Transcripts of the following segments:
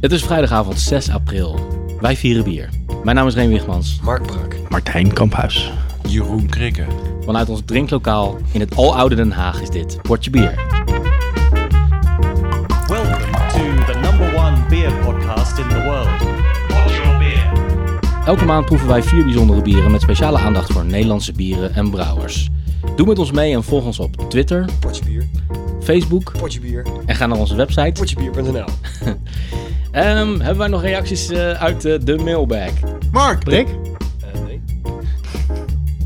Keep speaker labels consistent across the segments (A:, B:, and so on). A: Het is vrijdagavond 6 april. Wij vieren bier. Mijn naam is Reen Wichmans.
B: Mark Brak,
C: Martijn Kamphuis.
B: Jeroen Krikke,
A: Vanuit ons drinklokaal in het aloude Den Haag is dit Portje Bier.
D: Welcome to the number one beer podcast in the world. What's your beer?
A: Elke maand proeven wij vier bijzondere bieren met speciale aandacht voor Nederlandse bieren en brouwers. Doe met ons mee en volg ons op Twitter,
B: Potje Bier,
A: Facebook
B: Potje Bier,
A: en ga naar onze website.
B: potjebier.nl.
A: Ehm, hebben wij nog reacties eh, uit eh, de mailbag?
E: Mark,
C: Rick?
B: Eh, nee.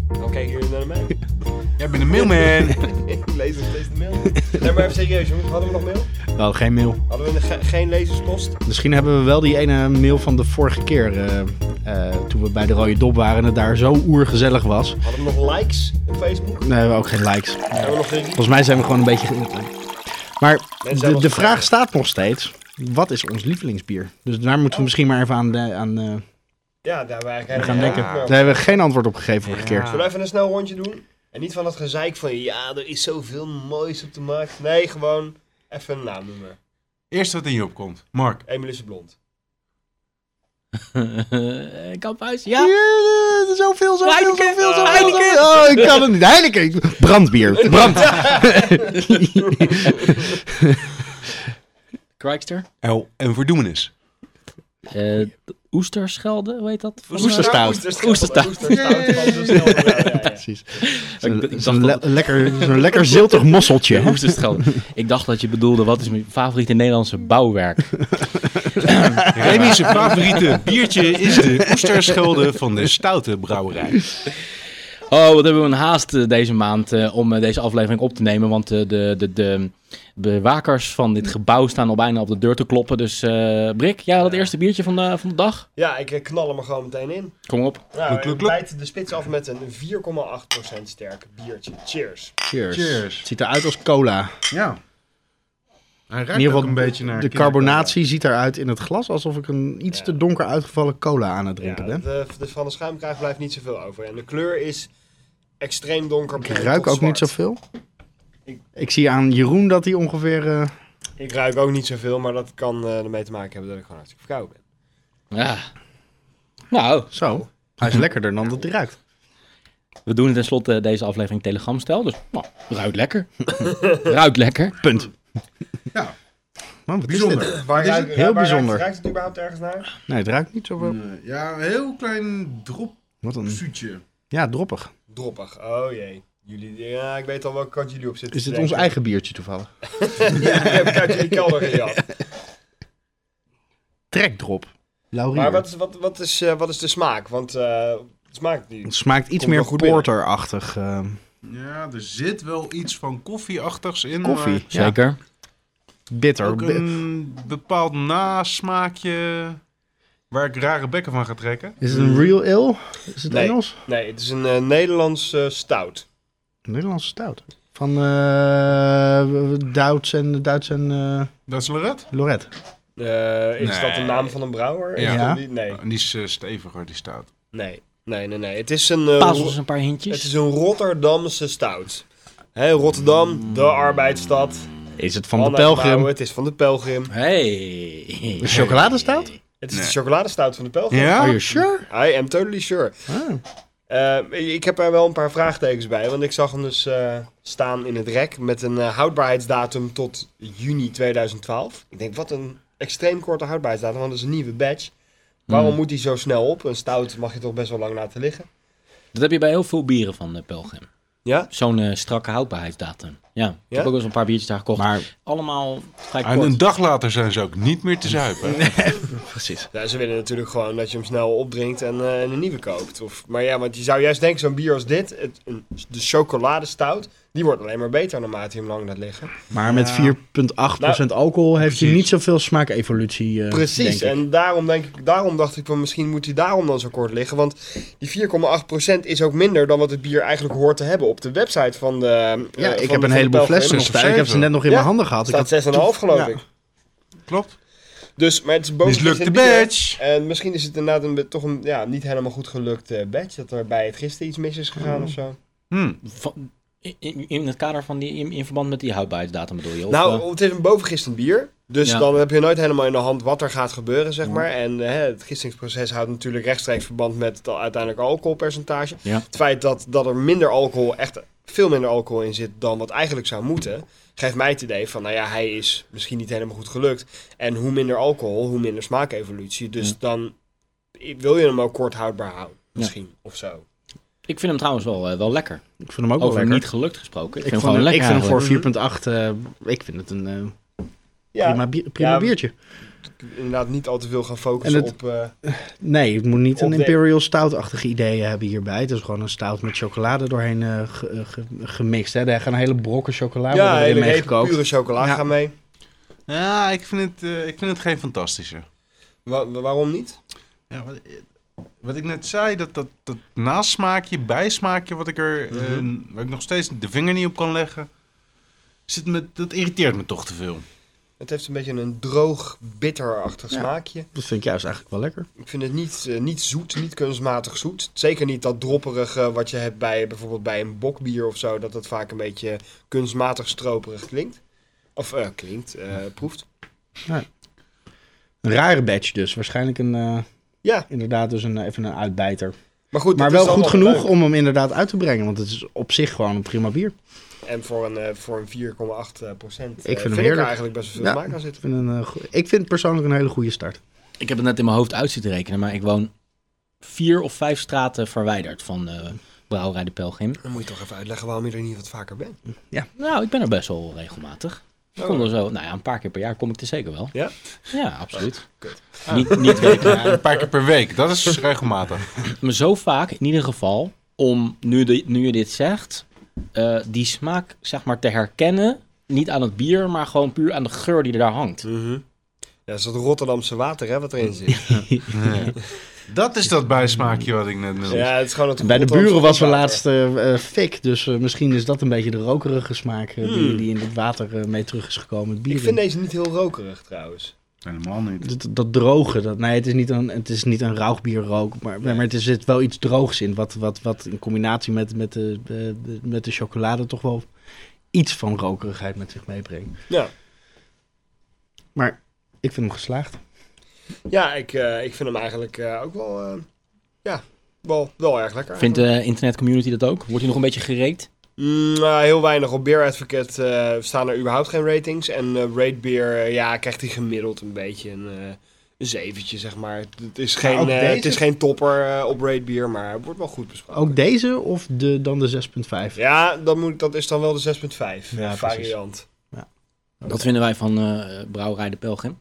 B: Dan kijken jullie naar mij.
E: jij bent een mailman.
B: Ik lees nog steeds de mail. Nee, maar even serieus, jongens. Hadden we nog mail?
C: Nou, geen mail.
B: Hadden we ge- geen lezerspost?
C: Misschien hebben we wel die ene mail van de vorige keer. eh, eh, toen we bij de Rode Dop waren en het daar zo oergezellig was.
B: Hadden we nog likes op Facebook?
C: Oh, Nee, we hebben ook geen likes.
B: Hebben we nog geen...
C: Volgens mij zijn we gewoon een beetje... ge- Maar
B: zijn
C: de,
B: wel
C: de
B: gezellig.
C: vraag staat nog steeds. Wat is ons lievelingsbier? Dus daar moeten we misschien maar even aan, de- aan eh,
B: Ja, daar waren we eigenlijk
C: gaan denken.
B: Ja.
C: Daar hebben we geen antwoord op gegeven vorige keer.
B: Zullen we even een snel rondje doen? En niet van dat gezeik van, ja, er is zoveel moois op de markt. Nee, gewoon even een naam noemen.
E: Eerst wat in je opkomt. Mark.
B: Emil is blond.
A: Eh, Kamphuis,
C: Ja,
A: ja.
C: eh, zoveel, zoveel,
A: Heineken,
C: zoveel, zoveel.
A: Heineken.
C: Oh, ik kan het niet. Heineken. Brandbier. Brand.
A: Krikster.
E: El en Verdoemenis.
A: Eh Oesterschelde, hoe heet dat?
C: Oesterstout.
A: Oesterstout.
B: Oesterstout. kwam zo snel voorbij, ja, ja.
C: Precies.
A: Ik- ik
C: Zo'n
A: dacht
C: zo'n
A: dat-
C: le- lekker, zo'n lekker ziltig mosseltje. hè?
A: Oesterschelde. Ik dacht dat je bedoelde, wat is mijn favoriete Nederlandse bouwwerk?
E: Remy's favoriete biertje is de oesterschelde van de Stoute Brouwerij.
A: Oh, wat hebben we een haast eh, deze maand eh, om eh, deze aflevering op te nemen. Want eh, de, de, de bewakers van dit gebouw staan al bijna op de deur te kloppen. Dus eh, Brik, jij had het eerste biertje van de, van de dag.
B: Ja, ik eh, knal hem er gewoon meteen in.
A: Kom op.
B: Nou,
E: Kluk,
B: we
E: kluk, kluk.
B: bijten de spits af met een 4,8% sterk biertje. Cheers.
C: Cheers.
E: Cheers.
C: Het ziet eruit als cola.
E: Ja. Hij ruikt
C: In ieder
E: ook
C: geval
E: een beetje
C: de
E: naar kindercola.
C: carbonatie ziet eruit in het glas alsof ik een iets
B: Ja.
C: te donker uitgevallen cola aan het
B: Ja,
C: drinken ben.
B: de, dus van de schuimkraag blijft niet zoveel over. En de kleur is extreem donker.
C: Ik ruik ook niet zoveel. Ik zie aan Jeroen dat hij ongeveer... eh,
B: Ik ruik ook niet zoveel, maar dat kan eh, ermee te maken hebben dat ik gewoon hartstikke verkouden ben.
A: Ja. Nou,
C: zo. Hij is lekkerder dan dat hij ruikt.
A: we doen tenslotte deze aflevering telegramstijl. Dus nou, ruikt lekker.
C: Oh,
A: ruikt lekker.
C: Punt.
E: Ja.
C: Man, wat is dit?
E: Bijzonder.
B: Waar ruik,
C: Heel
B: waar
C: bijzonder.
B: Ruikt, ruikt het überhaupt ergens naar?
C: Nee, het ruikt niet zoveel.
E: Nee, Ja, een heel klein
C: Wat een...
E: dropsuutje.
C: Ja, droppig.
B: Droppig. Oh jee. Jullie, ja, ik weet al welke kant jullie op zitten.
C: Is
B: te
C: dit ons
B: denken.
C: eigen biertje toevallig?
B: ja, ik heb een kantje in kelder gejat.
C: Trekdrop.
B: Maar
C: Laurier.
B: wat, is- wat, wat, is, eh, wat is de smaak? Want eh smaakt die.
C: Het smaakt iets
B: Komt wel
C: meer
B: goed binnen.
C: porterachtig. eh,
E: Ja, er zit wel iets van koffieachtigs in.
C: koffie.
E: maar
C: Ja.
A: Zeker.
C: Bitter.
E: Ook
C: Bi-
E: een bepaald nasmaakje waar ik rare bekken van ga trekken.
C: Is het een real ale? Is het
B: Nee.
C: Engels?
B: Nee, het is een eh, Nederlands eh, stout.
C: Een Nederlandse stout. Van eh Duits en, Duits en eh,
E: Dat is Lorette.
C: Lorette.
B: Eh, is
E: Nee.
B: dat de naam van een brouwer? Is
C: Ja.
B: dat niet? Nee.
E: En die is eh, steviger, die staat.
B: Nee, nee, nee, nee. Het is een, eh,
A: Pazels
B: Ro-
A: een paar
B: het is
A: hintjes.
B: een Rotterdamse stout. Hè, Rotterdam, de arbeidsstad.
C: Is het Mm. van
B: Mannen
C: de Pelgrim?
B: gebrouwen, Het is van de Pelgrim.
A: Hey.
C: Een chocoladestout?
B: Het is
E: Nee.
B: de chocoladestout van de Pelgrim.
C: Are you sure?
B: I am totally sure.
C: Ah.
B: Eh, ik heb er wel een paar vraagtekens bij, want ik zag hem dus eh, staan in het rek met een eh, houdbaarheidsdatum tot juni 2012. Ik denk, wat een extreem korte houdbaarheidsdatum, want dat is een nieuwe badge. Waarom
C: Mm.
B: moet die zo snel op? Een stout mag je toch best wel lang laten liggen?
A: Dat heb je bij heel veel bieren van eh, Pelgrim.
B: Ja?
A: Zo'n eh, strakke houdbaarheidsdatum. Ja, ik
B: Ja?
A: heb ook wel eens een paar biertjes daar gekocht.
C: Maar
A: Allemaal vrij
E: Ah, En
A: kort.
E: een dag later zijn ze ook niet meer te zuipen.
C: precies.
B: Ja, ze willen natuurlijk gewoon dat je hem snel opdrinkt en, eh, en een nieuwe koopt. Of, maar ja, want je zou juist denken, zo'n bier als dit, het, een, de chocoladestout, die wordt alleen maar beter naarmate je hem lang laat liggen.
C: Maar met 4,8% alcohol heeft hij
E: precies.
C: niet zoveel smaakevolutie. eh,
B: Nou, Precies,
C: denk ik.
B: en daarom, denk ik, daarom dacht ik, van, misschien moet hij daarom dan zo kort liggen. Want die 4,8% is ook minder dan wat het bier eigenlijk hoort te hebben. Op de website van de... eh,
C: Ja,
B: van
C: ik
B: de-
C: heb een
B: van de
C: heleboel
B: Belgium
C: flessen nog
E: of
C: staan. Ik heb ze
E: zeven.
C: net nog in
B: Ja,
C: mijn handen gehad. Ik had-
B: staat 6,5 geloof
C: Ja.
B: ik.
E: Klopt.
B: Dus, maar het is boven
E: Mislukt de badge.
B: En misschien is het inderdaad een, be- toch een ja, niet helemaal goed gelukt eh, badge. Dat er bij het gisteren iets mis is gegaan
C: Mm.
B: of zo.
E: Hm.
A: Van- in, in het kader van die, in, in verband met die houdbaarheidsdatum bedoel je? Of,
B: Nou,
A: eh,
B: het is een bovengisterend bier. Dus
A: Ja.
B: dan heb je nooit helemaal in de hand wat er gaat gebeuren, zeg maar. En eh, het gistingsproces houdt natuurlijk rechtstreeks verband met het uiteindelijk alcoholpercentage.
A: Ja.
B: Het feit dat, dat er minder alcohol, echt veel minder alcohol in zit dan wat eigenlijk zou moeten, geeft mij het idee van, nou ja, hij is misschien niet helemaal goed gelukt. En hoe minder alcohol, hoe minder smaakevolutie. Dus
A: Ja.
B: dan wil je hem ook kort houdbaar houden, misschien, of zo.
A: Ik vind hem trouwens wel, eh, wel lekker.
C: Ik vind hem ook
A: Over
C: wel lekker.
A: niet gelukt gesproken. Ik,
C: ik,
A: vind
C: vond
A: hem
C: hem,
A: gewoon
C: ik
A: lekker.
C: vind hem voor
A: eigenlijk.
C: 4.8, eh, ik vind het een eh, prima, bier- prima
B: Ja.
C: biertje.
B: Inderdaad niet al te veel gaan focussen
C: En het-
B: op... eh,
C: Nee, het moet niet
B: Op
C: een
B: de-
C: Imperial Stout-achtige idee hebben hierbij. Het is gewoon een stout met chocolade doorheen eh, ge- ge- gemixt. Hè. Daar gaan hele brokken chocolade
B: ja,
C: worden erin
B: hele
C: mee
B: reep
C: gekookt.
B: pure chocola
C: Ja.
B: gaan mee.
E: Ja, ik vind het, eh, ik vind het geen fantastische.
B: Wa- waarom niet?
E: Ja, wat, eh, wat ik net zei, dat, dat, dat nasmaakje, bijsmaakje, wat ik er, eh, waar ik nog steeds de vinger niet op kan leggen, zit me, dat irriteert me toch te veel.
B: Het heeft een beetje een droog, bitterachtig
C: Ja.
B: smaakje.
C: Dat vind ik juist eigenlijk wel lekker.
B: Ik vind het niet, eh, niet zoet, niet kunstmatig zoet. Zeker niet dat dropperige wat je hebt bij bijvoorbeeld bij een bokbier of zo. Dat dat vaak een beetje kunstmatig stroperig klinkt. Of eh, klinkt, eh, proeft.
C: Een rare badge dus. Waarschijnlijk een, eh,
B: Ja,
C: inderdaad dus een, even een uitbijter.
B: maar goed.
C: maar
B: dat is
C: wel goed
B: allemaal
C: genoeg
B: leuk.
C: om hem inderdaad uit te brengen. Want het is op zich gewoon een prima bier.
B: En voor een, eh, voor een 4,8 eh, procent
C: vind hem
B: vind ik er
C: heerlijk.
B: eigenlijk best wel veel
C: Ja.
B: smaak aan zitten.
C: Ik vind, een, eh, go- ik vind het persoonlijk een hele goede start.
A: Ik heb het net in mijn hoofd uit zitten rekenen, maar ik woon vier of vijf straten verwijderd van eh Brouwerij de Pelgrim.
B: Dan moet je toch even uitleggen waarom je er niet wat vaker bent.
A: Nou, ik ben er best wel regelmatig. Ik
C: Oh.
A: kom er zo, nou ja, een paar keer per jaar kom ik er zeker wel.
B: Ja?
A: Ja,
C: Ah,
A: absoluut.
B: Kut.
A: Niet, niet weten.
E: Ja, een paar keer per week, dat is regelmatig.
A: Maar zo vaak, in ieder geval, om nu, de, nu je dit zegt, eh, die smaak zeg maar te herkennen. Niet aan het bier, maar gewoon puur aan de geur die er daar hangt.
C: Mhm.
B: Ja, dat is dat Rotterdamse water hè, wat erin zit.
E: Dat is dat bijsmaakje wat ik net noemde.
B: ja, het is gewoon het
C: Bij de
B: Rotterdamse
C: buren was wel
B: water.
C: laatst eh, eh, fik. Dus eh, misschien is dat een beetje de rokerige smaak eh, die, die in het water eh, mee terug is gekomen. Het bier
B: Hmm. Ik
C: in.
B: vind deze niet heel rokerig trouwens.
E: Helemaal niet.
C: Dat, dat droge, dat, nee, het is niet een, het is niet een rauwbierrook, maar, maar er zit wel iets droogs in. Wat, wat, wat in combinatie met, met, de, de- de- met de chocolade toch wel iets van rokerigheid met zich meebrengt.
B: Ja,
C: Maar ik vind hem geslaagd.
B: ja ik, eh, ik vind hem eigenlijk eh, ook wel, eh, ja, wel, wel erg lekker.
A: Vindt de internetcommunity dat ook? Wordt hij nog een beetje gereed?
B: Mm, eh, heel weinig. Op Beer Advocate eh, staan er überhaupt geen ratings. En eh Rate Beer, eh, ja, krijgt hij gemiddeld een beetje een, eh een zeventje, zeg maar. Het- Het is geen,
C: ook
B: eh,
C: deze?
B: het is geen topper eh, op Rate Beer, maar het wordt wel goed besproken.
C: Ook deze of de, dan de 6.5?
B: Ja, dat, moet, dat is dan wel de 6.5
C: Ja,
B: variant.
A: Dat vinden wij van eh, Brouwerij de Pelgrim.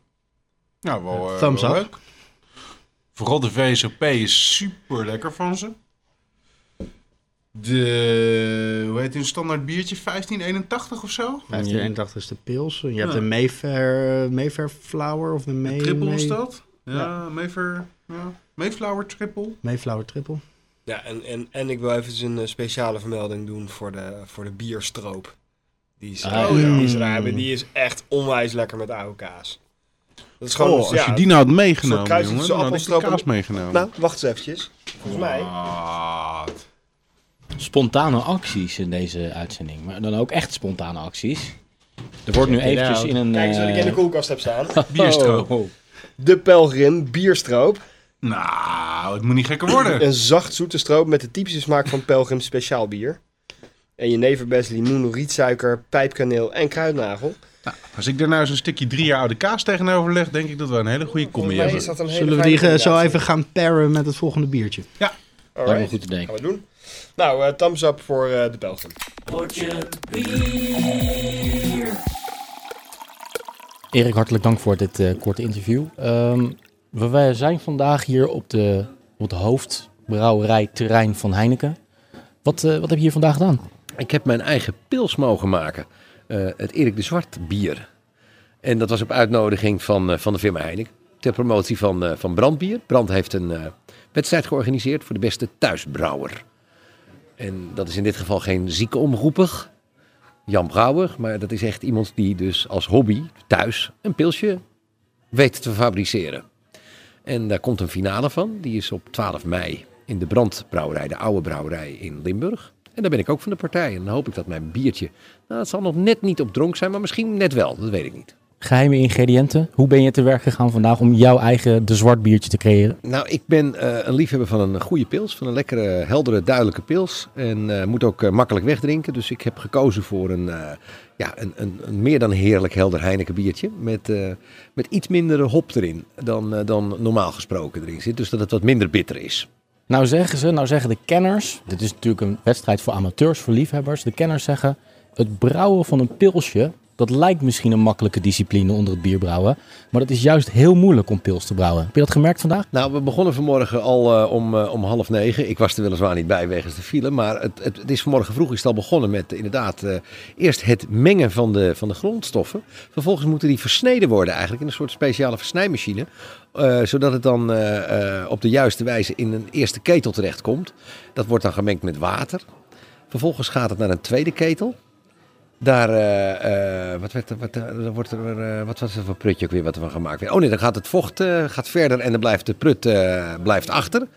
E: Nou, wel, eh,
C: Thumbs
E: wel
C: up.
E: leuk. Vooral de VSOP is super lekker van ze. De, hoe heet een standaard biertje? 1581 of zo?
C: 1581 is de pils. Je hebt
E: Ja.
C: de Mayfair, Mayfair Flower of de May,
E: triple is
C: May-
E: dat? Ja,
C: Ja.
E: Mayfair, ja. Mayflower triple.
C: Mayflower Triple.
B: Ja, en, en, en ik wil even een eh, speciale vermelding doen voor de, voor de bierstroop. Die ze,
A: Ah,
B: die
E: ja.
B: ze daar hebben. Die is echt onwijs lekker met oude kaas. Dat is gewoon...
E: oh, als
B: ja,
E: je die nou had
B: Een soort
E: meegenomen,
B: kruis
E: jongen,
B: tussen
E: dan had ik die
B: appelstroop en-
E: kaas meegenomen.
B: Nou, wacht eens eventjes. Volgens mij...
E: Wat?
A: Spontane acties in deze uitzending. Maar dan ook echt spontane acties. Er wordt nu eventjes in een...
B: Kijk eens wat ik in de
A: eh,
B: koelkast heb staan.
E: Bierstroop.
A: oh, oh.
B: De pelgrim bierstroop.
E: Nou, het moet niet gekker worden.
B: Een zacht zoete stroop met de typische smaak van pelgrim speciaal bier. En jeneverbes, limoen, rietsuiker, pijpkaneel en kruidnagel.
E: Als ik daar nou zo'n stukje drie jaar oude kaas tegenover leg, denk ik dat we een hele goede
B: Volgens
E: combi
B: mij
E: hebben.
B: is dat een hele
C: Zullen we
B: fijne
C: die eh, zo
B: combinatie.
C: even gaan paren met het volgende biertje?
A: Lijkt me
B: Alright,
A: een goed idee.
B: gaan we doen. Nou, eh, thumbs up voor eh, de pelgrim.
A: Erik, hartelijk dank voor dit eh, korte interview. Ehm, we, wij zijn vandaag hier op, de, op het hoofdbrouwerijterrein van Heineken. Wat, eh, wat heb je hier vandaag gedaan?
F: Ik heb mijn eigen pils mogen maken. Eh, het Erik de Zwart bier. En dat was op uitnodiging van, eh, van de firma Heineken. Ter promotie van, eh, van Brandbier. Brand heeft een eh, wedstrijd georganiseerd voor de beste thuisbrouwer. En dat is in dit geval geen zieke omroepig. Jan Brouwer, maar dat is echt iemand die dus als hobby thuis een pilsje weet te fabriceren. En daar komt een finale van. Die is op 12 mei in de Brandbrouwerij, de oude brouwerij in Limburg. En daar ben ik ook van de partij. En dan hoop ik dat mijn biertje. Nou, het zal nog net niet op dronk zijn, maar misschien net wel. Dat weet ik niet.
A: geheime ingrediënten. Hoe ben je te werk gegaan vandaag om jouw eigen de zwart biertje te creëren?
F: Nou, ik ben eh, een liefhebber van een goede pils. Van een lekkere, heldere, duidelijke pils. En eh, moet ook eh, makkelijk wegdrinken. Dus ik heb gekozen voor een, eh, ja, een, een, een meer dan heerlijk helder Heineken biertje. Met, eh, met iets minder hop erin dan, eh, dan normaal gesproken erin zit. Dus dat het wat minder bitter is.
A: Nou zeggen ze, nou zeggen de kenners, dit is natuurlijk een wedstrijd voor amateurs, voor liefhebbers. De kenners zeggen, het brouwen van een pilsje, dat lijkt misschien een makkelijke discipline onder het bierbrouwen. Maar dat is juist heel moeilijk om pils te brouwen. Heb je dat gemerkt vandaag?
F: Nou, we begonnen vanmorgen al eh, om, eh, om half negen. Ik was er weliswaar niet bij wegens de file. Maar het, het, het is vanmorgen vroeg is het al begonnen met eh, inderdaad eh, eerst het mengen van de, van de grondstoffen. Vervolgens moeten die versneden worden eigenlijk in een soort speciale versnijmachine. eh, zodat het dan eh, eh, op de juiste wijze in een eerste ketel terechtkomt. Dat wordt dan gemengd met water. Vervolgens gaat het naar een tweede ketel. Daar, eh, eh, wat, werd, er- wat, eh, dan wordt er, eh, wat was er voor prutje ook weer wat er van gemaakt werd? Oh nee, dan gaat het vocht eh, gaat verder en dan blijft de prut eh, blijft achter.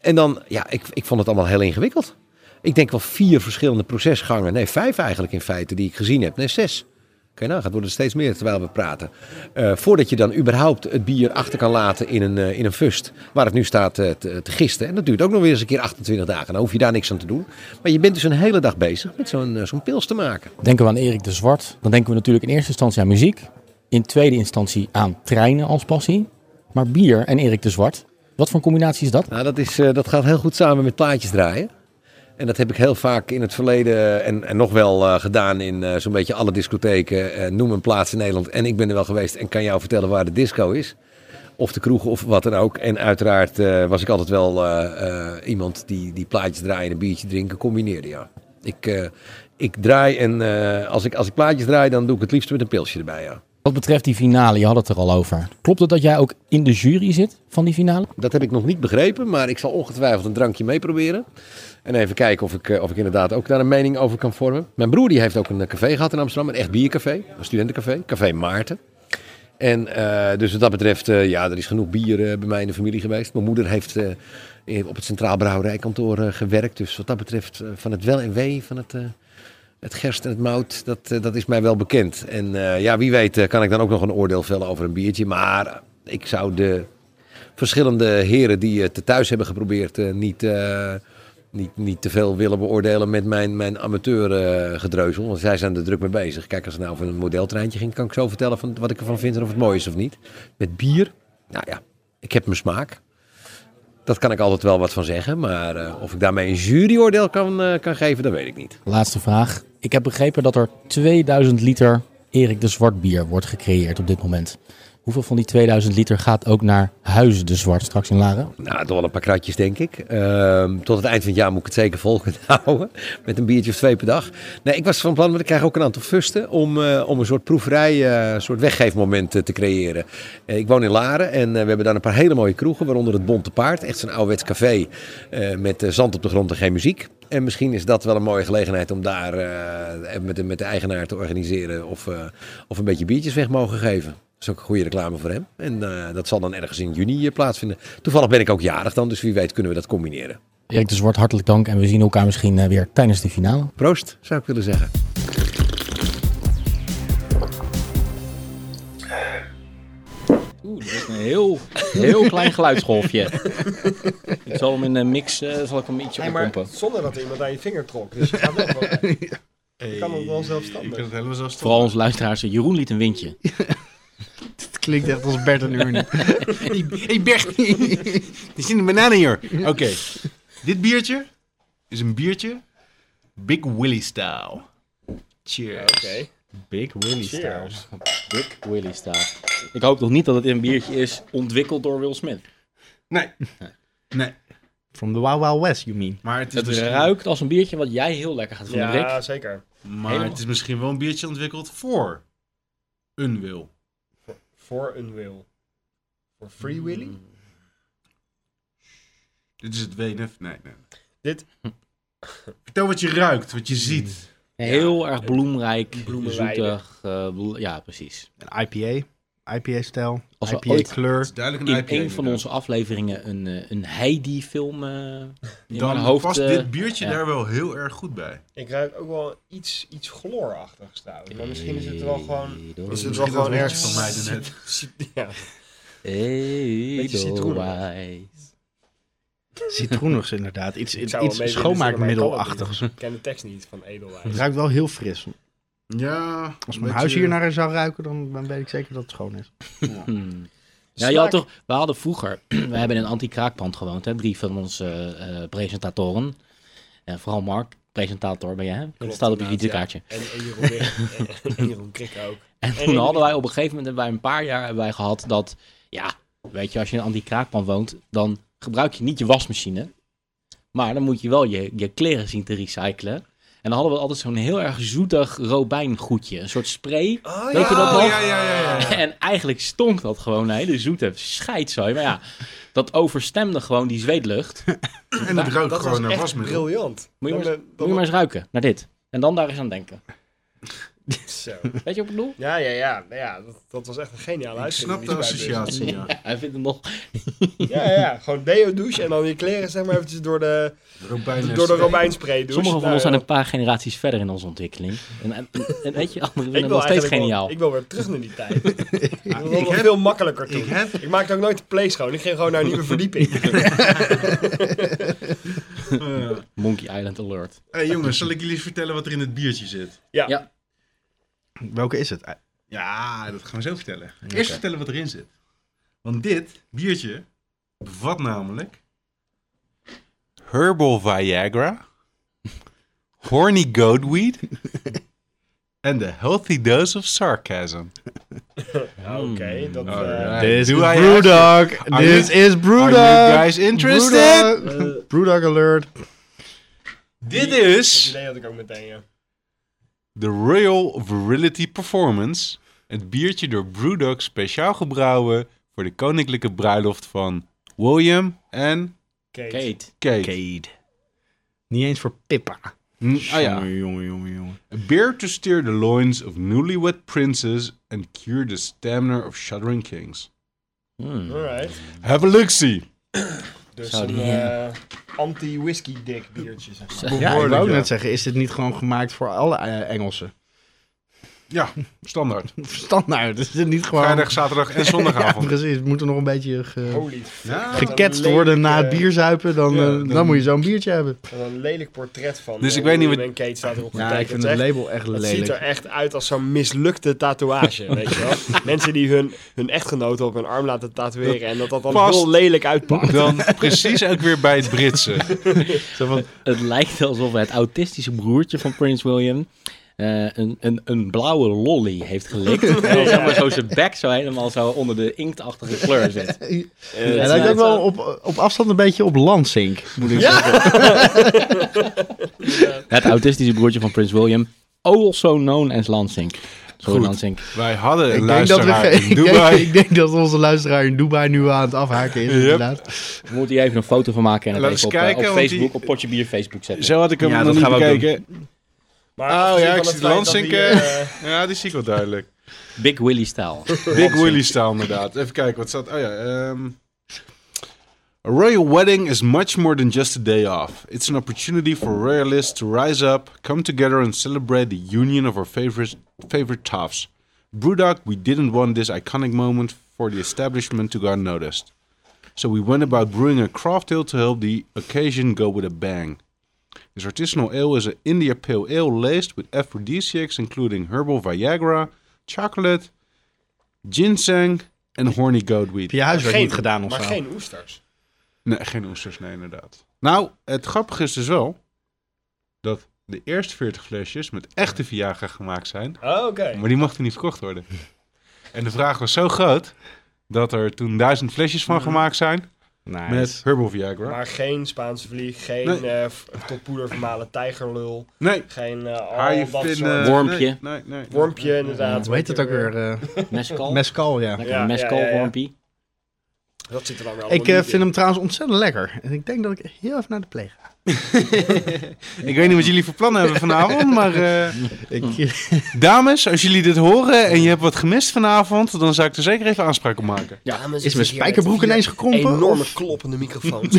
F: En dan, ja, ik, ik vond het allemaal heel ingewikkeld. Ik denk wel vier verschillende procesgangen. Nee, vijf eigenlijk in feite die ik gezien heb. Nee, zes. Oké, nou, gaat worden het steeds meer terwijl we praten. Eh, voordat je dan überhaupt het bier achter kan laten in een, eh, in een fust. Waar het nu staat eh, te, te gisten. En dat duurt ook nog weer eens een keer 28 dagen. Dan hoef je daar niks aan te doen. Maar je bent dus een hele dag bezig met zo'n eh, zo'n pils te maken.
A: Denken we aan Erik de Zwart, dan denken we natuurlijk in eerste instantie aan muziek. In tweede instantie aan treinen als passie. Maar bier en Erik de Zwart, wat voor een combinatie is dat?
F: Nou, dat, is, eh, dat gaat heel goed samen met plaatjes draaien. En dat heb ik heel vaak in het verleden en, en nog wel eh, gedaan in eh, zo'n beetje alle discotheken. Eh, noem een plaats in Nederland. En ik ben er wel geweest en kan jou vertellen waar de disco is. Of de kroeg of wat dan ook. En uiteraard eh, was ik altijd wel eh, eh, iemand die, die plaatjes draaien en een biertje drinken combineerde. Ja. Ik, eh, ik draai en eh, als, ik, als ik plaatjes draai, dan doe ik het liefst met een pilsje erbij. Ja.
A: Wat betreft die finale, je had het er al over. Klopt het dat jij ook in de jury zit van die finale?
F: Dat heb ik nog niet begrepen, maar ik zal ongetwijfeld een drankje meeproberen. En even kijken of ik, eh, of ik inderdaad ook daar een mening over kan vormen. Mijn broer die heeft ook een eh, café gehad in Amsterdam, een echt biercafé, een studentencafé, Café Maarten. En eh, dus wat dat betreft, eh, ja, er is genoeg bier eh, bij mij in de familie geweest. Mijn moeder heeft eh, in- op het Centraal Brouwerijkantoor eh, gewerkt. Dus wat dat betreft, eh, van het wel en wee, van het, eh, het gerst en het mout, dat, eh, dat is mij wel bekend. En eh, ja, wie weet eh, kan ik dan ook nog een oordeel vellen over een biertje. Maar eh, ik zou de verschillende heren die het thuis hebben geprobeerd eh, niet, eh, niet, niet te veel willen beoordelen met mijn, mijn amateurgedreuzel. want zij zijn er druk mee bezig. Kijk, als het nou van een modeltreintje ging, kan ik zo vertellen van wat ik ervan vind en of het mooi is of niet. Met bier, nou ja, ik heb mijn smaak. Dat kan ik altijd wel wat van zeggen, maar eh, of ik daarmee een juryoordeel kan, eh, kan geven, dat weet ik niet.
A: Laatste vraag. Ik heb begrepen dat er 2000 liter Erik de Zwart bier wordt gecreëerd op dit moment. Hoeveel van die 2000 liter gaat ook naar Huizen de Zwart straks in Laren?
F: Nou, toch wel een paar kratjes, denk ik. Ehm, tot het eind van het jaar moet ik het zeker vol kunnen houden. Met een biertje of twee per dag. Nee, ik was van plan, want ik krijg ook een aantal fusten. Om, eh, om een soort proeverij, eh, een soort weggeefmoment eh, te creëren. Eh, ik woon in Laren en eh, we hebben daar een paar hele mooie kroegen. Waaronder het Bonte Paard. Echt zo'n ouderwets café. eh, met eh, zand op de grond en geen muziek. En misschien is dat wel een mooie gelegenheid om daar eh, met, de, met de eigenaar te organiseren. Of, eh, of een beetje biertjes weg mogen geven. Dat is ook een goede reclame voor hem. En eh, dat zal dan ergens in juni eh, plaatsvinden. Toevallig ben ik ook jarig dan, dus wie weet kunnen we dat combineren.
A: Erik de Zwart, hartelijk dank en we zien elkaar misschien eh, weer tijdens de finale.
F: Proost, zou ik willen zeggen.
A: Oeh, dat is een heel, heel klein geluidsgolfje. ik zal hem in een mix, eh, zal ik hem ietsje
B: Nee, maar zonder dat er iemand aan je vinger trok. Dus je gaat wel gewoon- Je kan het wel
E: Ik
B: zelfstandig.
E: kan het helemaal zelfstandig.
A: Vooral onze luisteraars, eh, Jeroen liet een windje.
C: Het klinkt echt als Bert en Ernie.
E: hey Bert, die zien de bananen hier. Oké, dit biertje is een biertje Big Willy style. Cheers.
B: Oké.
A: Big Willy style.
B: Cheers.
A: Big Willy style. Ik hoop nog niet dat het een biertje is ontwikkeld door Will Smith.
E: Nee. Nee.
C: From the Wild Wild West, you mean?
E: Maar het is,
A: Het
E: misschien,
A: ruikt als een biertje wat jij heel lekker gaat vinden, Rick.
B: Ja, zeker.
E: maar het is misschien wel een biertje ontwikkeld voor een wil.
B: Voor een wil. Voor Free Willy?
E: Dit is het WNF. Nee, nee.
B: Dit-
E: Vertel wat je ruikt, wat je
A: Mm.
E: ziet.
A: Heel erg bloemrijk,
B: Bloemenweide.
A: zoetig. eh, blo- ja, precies.
C: Een IPA. IPA-stijl,
A: Als we ooit-
C: IPA-kleur.
E: is duidelijk een
A: in
E: IPA.
A: een van
E: inderdaad.
A: onze afleveringen een, eh, een Heidi-film eh in
E: Dan
A: mijn hoofd.
E: past
A: eh,
E: dit biertje
A: ja.
E: daar wel heel erg goed bij.
B: Ik ruik ook wel iets, iets chloorachtigs trouwens. Maar misschien is het wel gewoon...
A: Edo-
B: Is het wel
E: Misschien
B: gewoon
E: dat
B: erg
E: liedje van mij daarnet.
B: Ja.
A: Edelweiss.
B: citroen.
C: Citroenigs inderdaad. Iets,
B: Ik zou wel mee
C: iets
B: willen
C: schoonmaakmiddelachtigs.
B: Ik ken de tekst niet van Edelweiss.
C: Het ruikt wel heel fris.
E: Ja.
C: Als
E: een
C: mijn huis
E: beetje-
C: hier naar zou ruiken, dan, dan weet ik zeker dat het schoon is.
A: Hmm.
B: De
A: Ja, je had
B: smaak-
A: toch, we hadden vroeger, we hebben in een anti-kraakpand gewoond, hè, drie van onze eh, eh, presentatoren. En vooral Mark, presentator ben jij, hè? dat
B: Klopt,
A: staat op je
B: inderdaad, ja.
A: visitekaartje.
B: En, en Jeroen, en, en Jeroen Krikke ook.
A: En
B: En
A: toen
B: ik-
A: hadden wij op een gegeven moment, hebben wij een paar jaar hebben wij gehad dat, ja, weet je, als je in een anti-kraakpan woont, dan gebruik je niet je wasmachine. Maar dan moet je wel je, je kleren zien te recyclen. En dan hadden we altijd zo'n heel erg zoetig robijngoedje. Een soort spray.
B: Oh,
A: Weet je dat nog?
E: Ja, ja, ja. ja.
A: En eigenlijk stonk dat gewoon naar hele zoete scheidzooi. Maar ja, dat overstemde gewoon die zweetlucht. Moet
E: En het ruikt
B: Dat
E: gewoon
B: was
E: naar
B: echt
E: wasmiddel.
B: briljant.
A: Moet je
B: Dan
A: maar
B: ben-
A: je maar eens ruiken naar dit. En dan daar eens aan denken.
B: Zo.
A: Weet je wat ik bedoel?
B: Ja, ja, ja. Nou ja dat, dat was echt een geniale
E: Ik
B: uitzending,
E: snap de
B: die erbij bleef.
E: associatie, ja.
A: Hij vindt hem nog
B: Ja, ja, ja. Gewoon deo douche en dan je kleren zeg maar eventjes door de, door de Romeinspray douche.
A: Sommige van
B: Nou,
A: ons zijn
B: ja.
A: een paar generaties verder in onze ontwikkeling. En, en, en weet je, anderen
B: Ik
A: vinden
B: wil
A: het nog steeds
B: eigenlijk wel-
A: geniaal.
B: ik wil weer terug naar die tijd. Dat was
E: ik
B: nog
E: heb-
B: veel makkelijker toen.
E: Ik
B: Ik,
E: heb...
B: maakte ook nooit de play schoon. Ik ging gewoon naar een nieuwe verdieping.
E: eh,
A: Monkey Island Alert.
E: hey, jongens, zal ik jullie vertellen wat er in het biertje zit?
C: Welke is het?
E: Ja, dat gaan we zo vertellen. Eerst vertellen wat erin zit. Want dit biertje bevat namelijk... Herbal Viagra. Horny Goatweed. en de Healthy Dose of Sarcasm.
B: Ja, Oké,
A: Mm,
B: dat...
A: nou,
B: eh,
E: Alright.
C: This
E: Doe
C: is
E: hij
C: Brewdog.
E: Are
C: This is
E: Are
C: Brewdog.
E: you guys interested?
C: Brewdog. Brewdog alert.
E: Dit
B: die- Dat
E: is
B: idee had ik ook meteen, ja.
E: de Royal Virility Performance. Het biertje door Brewdog speciaal gebrouwen voor de koninklijke bruiloft van William en
B: Kate.
A: Kate.
E: Kate.
C: Cade. Niet eens voor Pippa.
E: Mm, ah ja.
C: Jongen, jongen, jongen, jongen.
E: A beer to steer the loins of newlywed princes and cure the stamina of shuddering kings.
A: Hmm.
B: Alright.
E: Have a look-see.
B: Dus
A: Zou
B: een
A: die,
B: eh, anti-whisky dick biertje, zeg maar.
C: Ja, ik wou
E: Behoorlijk,
C: ook
E: ja.
C: net zeggen, is dit niet gewoon gemaakt voor alle eh, Engelsen?
E: Ja, standaard.
C: Standaard, is dit niet gewoon...
E: Vrijdag, zaterdag en
C: Ja,
E: zondagavond.
C: precies. Het moet er nog een beetje ge...
B: Holy fuck.
E: Ja.
B: Wat een
C: geketst worden na het
B: lelijk,
C: bier zuipen. Dan,
E: Oh, ja,
C: eh,
E: dan-
C: dan, moet je zo'n biertje hebben.
B: eh, wat een lelijk portret van.
E: Dus
B: eh,
E: ik weet niet
B: William
E: wat-
B: en Kate staat erop
C: Ja,
B: getekend.
C: ik vind
B: Het
C: het
B: is echt-
C: label echt
B: Het
C: lelijk.
B: ziet er echt uit als zo'n mislukte tatoeage, weet je wel. Mensen die hun, hun echtgenoten op hun arm laten tatoeëren en dat dat dan
E: Past.
B: heel lelijk
C: Oh,
B: uitpakt.
E: Dan precies ook weer bij het Britse.
C: Zo van,
A: Het lijkt alsof het autistische broertje van Prince William eh, een, een, een blauwe lolly heeft gelikt. En dan zeg maar zo zijn bek zo helemaal zo onder de inktachtige kleur zit.
C: hij
A: het
C: lijkt ook
A: lijkt
C: wel op, op afstand een beetje op Lansink. Moet ik zeggen.
A: Het autistische broertje van Prince William. Also known as Lansing. Sorry
E: Goed.
A: Lansing.
E: Wij hadden een
C: Ik denk, dat we
E: luisteraar
C: ge-
E: in
C: ik, denk,
E: Dubai.
C: ik denk dat onze luisteraar in Dubai nu aan het afhaken is.
E: Yep.
C: Inderdaad.
A: We moeten hier even een foto van maken en het
E: Laten we
A: even op,
E: eens
A: eh,
E: kijken,
A: op
E: want
A: Facebook,
E: die-
A: op Potje Bier Facebook zetten.
E: Zo had ik hem
C: Ja,
E: nog
C: dat
E: niet
C: gaan we ook
E: bekeken.
B: Maar
E: Oh,
B: afgezien
E: ja,
B: van
E: ik
B: het
E: zie
B: feit
E: Lansink,
B: dat die, eh,
E: Ja, die zie ik wel duidelijk.
A: Big Willy style.
E: Big Willy style inderdaad. Even kijken, wat staat... Oh ja, ehm, A royal wedding is much more than just a day off. It's an opportunity for royalists to rise up, come together and celebrate the union of our favorite, favorite toffs. Brewdog, we didn't want this iconic moment for the establishment to go unnoticed. So we went about brewing a craft ale to help the occasion go with a bang. This artisanal ale is an India Pale Ale laced with aphrodisiacs including herbal Viagra, chocolate, ginseng en horny goatweed.
C: Heb je huiswerk
B: geen,
C: niet gedaan of
B: maar
C: zo?
B: geen oesters.
E: Nee, geen oesters, nee, inderdaad. Nou, het grappige is dus wel dat de eerste 40 flesjes met echte Viagra gemaakt zijn,
B: Oh, oké.
E: maar die mochten niet verkocht worden. En de vraag was zo groot dat er toen duizend flesjes
B: Mhm.
E: van gemaakt zijn
C: Nice.
E: met herbal Viagra.
B: Maar geen Spaanse vlieg, geen
E: Nee.
B: eh, v- tot poeder vermalen tijgerlul,
E: Nee,
B: geen eh
E: haar
B: al
E: je
B: dat
E: vinden.
B: soort...
A: Wormpje.
E: Nee, nee, nee.
B: Wormpje inderdaad.
C: Hoe heet het ook weer? eh,
A: Mescal. Nou,
C: mescal, ja.
A: Lekker
B: Ja,
A: mescal
B: ja, ja, ja.
A: wormpie.
B: Dat zit er dan wel
C: Ik
B: allemaal
C: eh,
B: niet in.
C: vind hem trouwens ontzettend lekker. En ik denk dat ik heel even naar de pleeg ga.
E: Ik weet niet wat jullie voor plannen hebben vanavond, maar... eh,
C: Ik,
E: dames, als jullie dit horen en je hebt wat gemist vanavond, dan zou ik er zeker even aanspraak op maken.
B: Ja, Ah, maar
C: is
B: zit
C: mijn
B: hier met
C: spijkerbroek
B: vier
C: ineens gekrompen?
B: Enorme
C: Of
B: kloppende microfoon.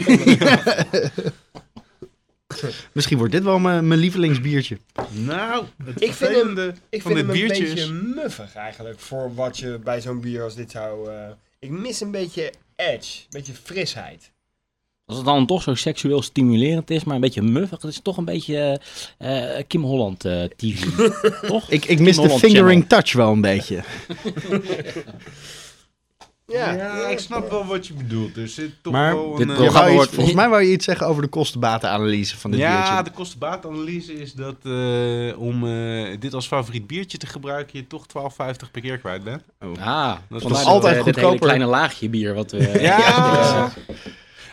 C: misschien wordt dit wel mijn, mijn lievelingsbiertje.
E: Nou,
B: ik vind hem, ik vind
E: van dit
B: hem een
E: biertje is-
B: beetje muffig eigenlijk. Voor wat je bij zo'n bier als dit zou... eh, ik mis een beetje edge. Een beetje frisheid.
A: Als het dan toch zo seksueel stimulerend is, maar een beetje muffig, dat is toch een beetje eh, eh, Kim Holland eh, TV. toch?
C: Ik, ik mis
A: Kim
C: de
A: Holland
C: fingering touch wel een beetje.
B: Ja.
E: ik snap wel wat je bedoelt. Er zit toch
C: Maar
E: wel
A: dit
E: een... eh,
C: Je
A: programma
C: wou iets-
A: wordt-
C: volgens mij wou je iets zeggen over de kostenbatenanalyse van dit
E: Ja,
C: biertje.
E: de kostenbaatanalyse is dat eh, om eh, dit als favoriet biertje te gebruiken, je toch 12,50 per keer kwijt bent.
A: Ah, dat
E: toch
A: is
C: altijd
A: altijd dit hele
C: goedkoper.
A: kleine laagje bier wat eh, we...
E: Ja.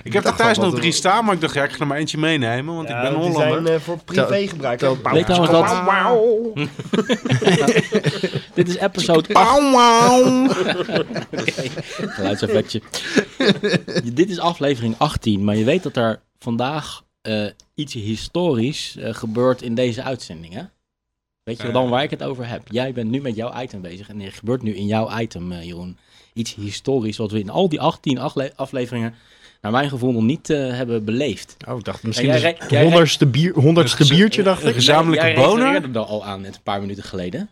E: Ik heb er
C: dacht
E: thuis
C: al,
E: nog
C: wat-
E: drie staan, maar ik dacht, ja, ik ga er maar eentje meenemen, want ik
B: Ja,
E: ben
B: want die
E: Hollander.
B: zijn eh, voor privégebruik.
C: Tel- nou
B: hè?
A: Weet trouwens dat... Dit is episode
B: eh,
A: 8.
E: Pauw, wauw.
A: Geluidseffectje. Je- Dit is aflevering 18, maar je weet dat er vandaag eh, iets historisch eh, gebeurt in deze uitzending, hè? Weet je dan waar ik het over heb? Jij bent nu met jouw item bezig en er gebeurt nu in jouw item, eh, Jeroen, iets historisch wat we in al die 18 afle- afleveringen, naar mijn gevoel, nog niet eh, hebben beleefd.
C: Oh, ik dacht misschien
A: Ja,
C: is
A: jij
C: het
A: re- jij re-
C: honderdste, bier, honderdste
E: Dus-
C: biertje, dacht
E: Een
C: ik.
E: gezamenlijke
A: Jij
E: boner?
A: refereerde er al aan net een paar minuten geleden.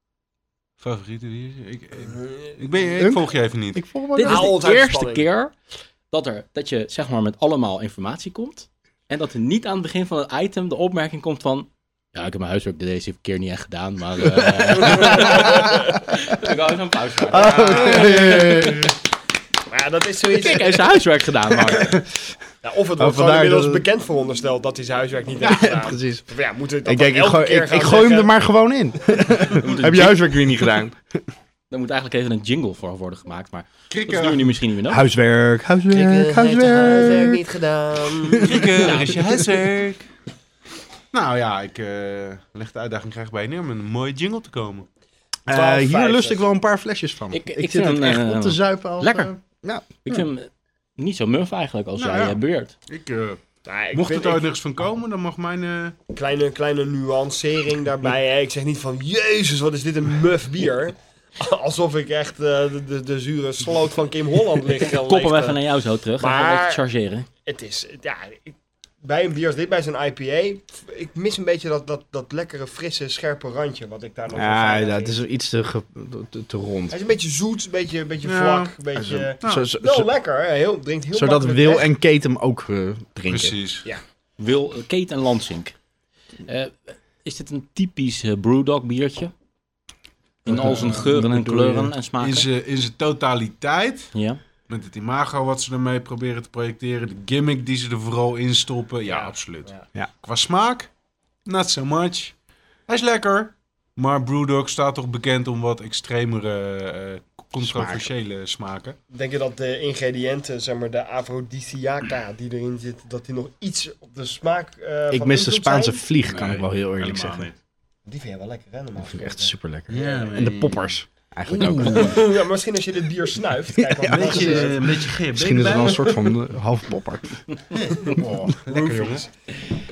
E: Favoriete biertje? Ik, ik, ik ben, ik
C: Unk?
E: volg je even niet.
C: Ik voel me
A: Dit is
B: Haal ons
A: de
B: uit de
A: eerste
B: spanning.
A: keer dat, er, dat je zeg maar met allemaal informatie komt. En dat er niet aan het begin van het item de opmerking komt van... Ja, ik heb mijn huiswerk deze keer niet echt gedaan, maar... eh." ik wou zo'n pauze maken.
B: Maar ja, dat is zoiets...
A: Kijk, hij heeft zijn huiswerk gedaan, maar...
B: Ja, of het
C: Oh,
B: wordt gewoon
C: vandaar
B: inmiddels
C: dat het-
B: bekend verondersteld dat hij zijn huiswerk niet heeft gedaan.
C: Precies.
B: Ja, moeten we dat
C: Ik
B: dan
C: denk, ik
B: elke
C: gooi,
B: keer
C: ik,
B: gaan
C: ik gooi hem
B: zeggen?
C: er maar gewoon in. Heb je huiswerk weer niet gedaan?
A: Daar moet eigenlijk even een jingle voor worden gemaakt, maar... Dat doen we
E: Krikken,
A: nu misschien niet meer nodig.
C: Huiswerk,
B: eh,
C: huiswerk, eh, huiswerk.
B: niet gedaan.
E: krikken, eh, daar is je huiswerk. Nou ja, ik eh, leg de uitdaging graag bij je neer om een mooie jingle te komen.
C: Eh, hier
B: 12,50.
C: lust ik wel een paar flesjes van.
A: Ik-
C: Ik,
A: ik
C: zit
A: vind
C: het
A: hem,
C: echt
A: eh,
C: op te zuipen. Al,
A: lekker.
C: eh, ja.
A: Ik vind hem niet zo muf eigenlijk als
E: Nou
A: jij
E: ja.
A: eh, beweert.
E: Ik, eh,
B: Nou, ik vind-
E: mocht het
B: ik-
E: ooit nergens van komen, dan mag mijn... eh,
B: kleine, kleine nuancering daarbij. Hè. Ik zeg niet van, jezus, wat is dit een muf bier. Alsof ik echt eh, de, de, de zure sloot van Kim Holland lig. eh,
A: Kop hem
B: leeg,
A: even
B: eh.
A: naar jou zo terug. Ga
B: Maar-
A: Even een beetje chargeren.
B: Het is, ja, ik- bij een bier als dit, bij zo'n IPA, f- ik mis een beetje dat, dat, dat lekkere, frisse, scherpe randje wat ik daar nog
C: Ja,
B: van
C: ja,
B: vind.
C: het is iets te, ge- te, te rond.
B: Hij is een beetje zoet, een beetje, een beetje
E: Ja.
B: vlak, een beetje...
C: Zo- zo-
B: Wel
C: zo-
B: lekker, hè. heel, drinkt heel
C: zodat
B: makkelijk
C: Wil
B: weg.
C: en Kate hem ook eh, drinken.
E: precies.
A: Wil, Kate en Lansink. Eh, is dit een typisch eh, Brewdog biertje? Eh, In al zijn geuren en
C: bedoel je?
A: kleuren en smaken?
E: In zijn in zijn totaliteit,
A: Ja.
E: met het imago wat ze ermee proberen te projecteren, de gimmick die ze er vooral in stoppen. Ja, absoluut.
B: Ja.
C: Ja.
E: Qua smaak, not so much. Hij is lekker, maar Brewdog staat toch bekend om wat extremere, eh, controversiële smaken.
B: Denk je dat de ingrediënten, zeg maar de afrodisiaca die erin zit, dat die nog iets op de smaak eh,
C: Ik
B: van
C: mis de
B: invloed
C: Spaanse
B: zijn?
C: vlieg, kan
E: Nee,
C: ik wel heel eerlijk
E: helemaal
C: zeggen.
E: niet.
B: Die vind je wel lekker, hè? Normaal
C: Dat vind ik echt
B: gesproken.
C: super lekker.
E: Ja, nee.
C: En de poppers. Eigenlijk ook.
B: ja, maar misschien als je dit bier snuift. Kijk, dan
E: Een beetje,
B: is het-
E: een beetje GHB
C: Misschien is het
E: erbij.
C: wel een soort van eh, half popper.
E: Oh, lekker jongens.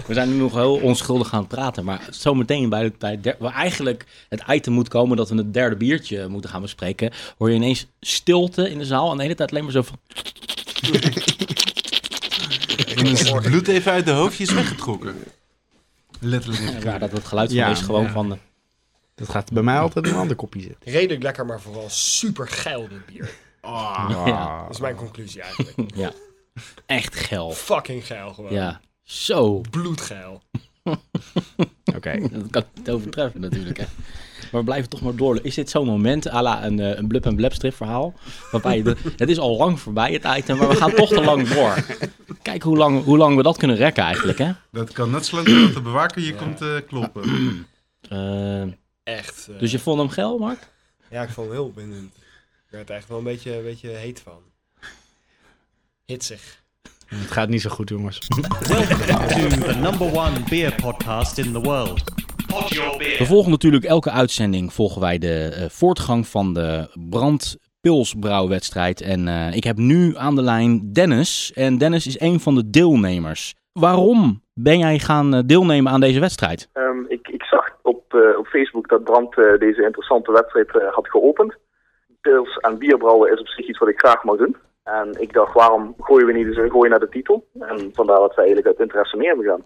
A: We zijn nu nog heel onschuldig aan het praten, maar zometeen bij, de- bij der- waar eigenlijk het item moet komen dat we het derde biertje moeten gaan bespreken, hoor je ineens stilte in de zaal en de hele tijd alleen maar zo van...
E: En is het bloed even uit de hoofdjes weggetrokken. Letterlijk.
A: Ja, dat het geluid van
C: Ja,
A: is gewoon van... eh,
C: Dat gaat bij mij altijd in een ander kopje zitten.
B: Redelijk lekker, maar vooral super geil dit bier.
A: Ja.
C: Ah.
B: Dat is mijn conclusie eigenlijk.
A: ja, echt geil.
B: Oh. Fucking geil gewoon.
A: Ja, zo.
B: Bloedgeil.
C: Oké.
A: Dat kan het overtreffen natuurlijk, hè. Maar we blijven toch maar door. Is dit zo'n moment, à la een, eh, een blub en blab strip verhaal? Waarbij de- het is al lang voorbij, het item, maar we gaan toch te lang door. Kijk hoe lang, hoe lang we dat kunnen rekken eigenlijk, hè.
E: Dat kan net zo lang doen dat de bewaker je komt eh, kloppen.
A: Eh,
B: Echt. eh,
A: dus je vond hem geil, Mark?
B: Ja, ik vond hem heel bindend. Ik werd er echt wel een beetje, een beetje heet van. Hitsig.
C: Het gaat niet zo goed, jongens.
D: Welcome to the number one beer podcast in the world. Pot your beer.
A: We volgen natuurlijk elke uitzending volgen wij de eh, voortgang van de brand pilsbrouwwedstrijd. En eh, ik heb nu aan de lijn Dennis. En Dennis is een van de deelnemers. Waarom ben jij gaan eh, deelnemen aan deze wedstrijd?
G: Ehm, ik, ik zag op, eh, op Facebook dat Brandt eh, deze interessante wedstrijd eh, had geopend. Pils en bierbrouwen is op zich iets wat ik graag mag doen. En ik dacht, waarom gooien we niet eens een gooi naar de titel? En vandaar dat wij eigenlijk uit interesse mee hebben gedaan.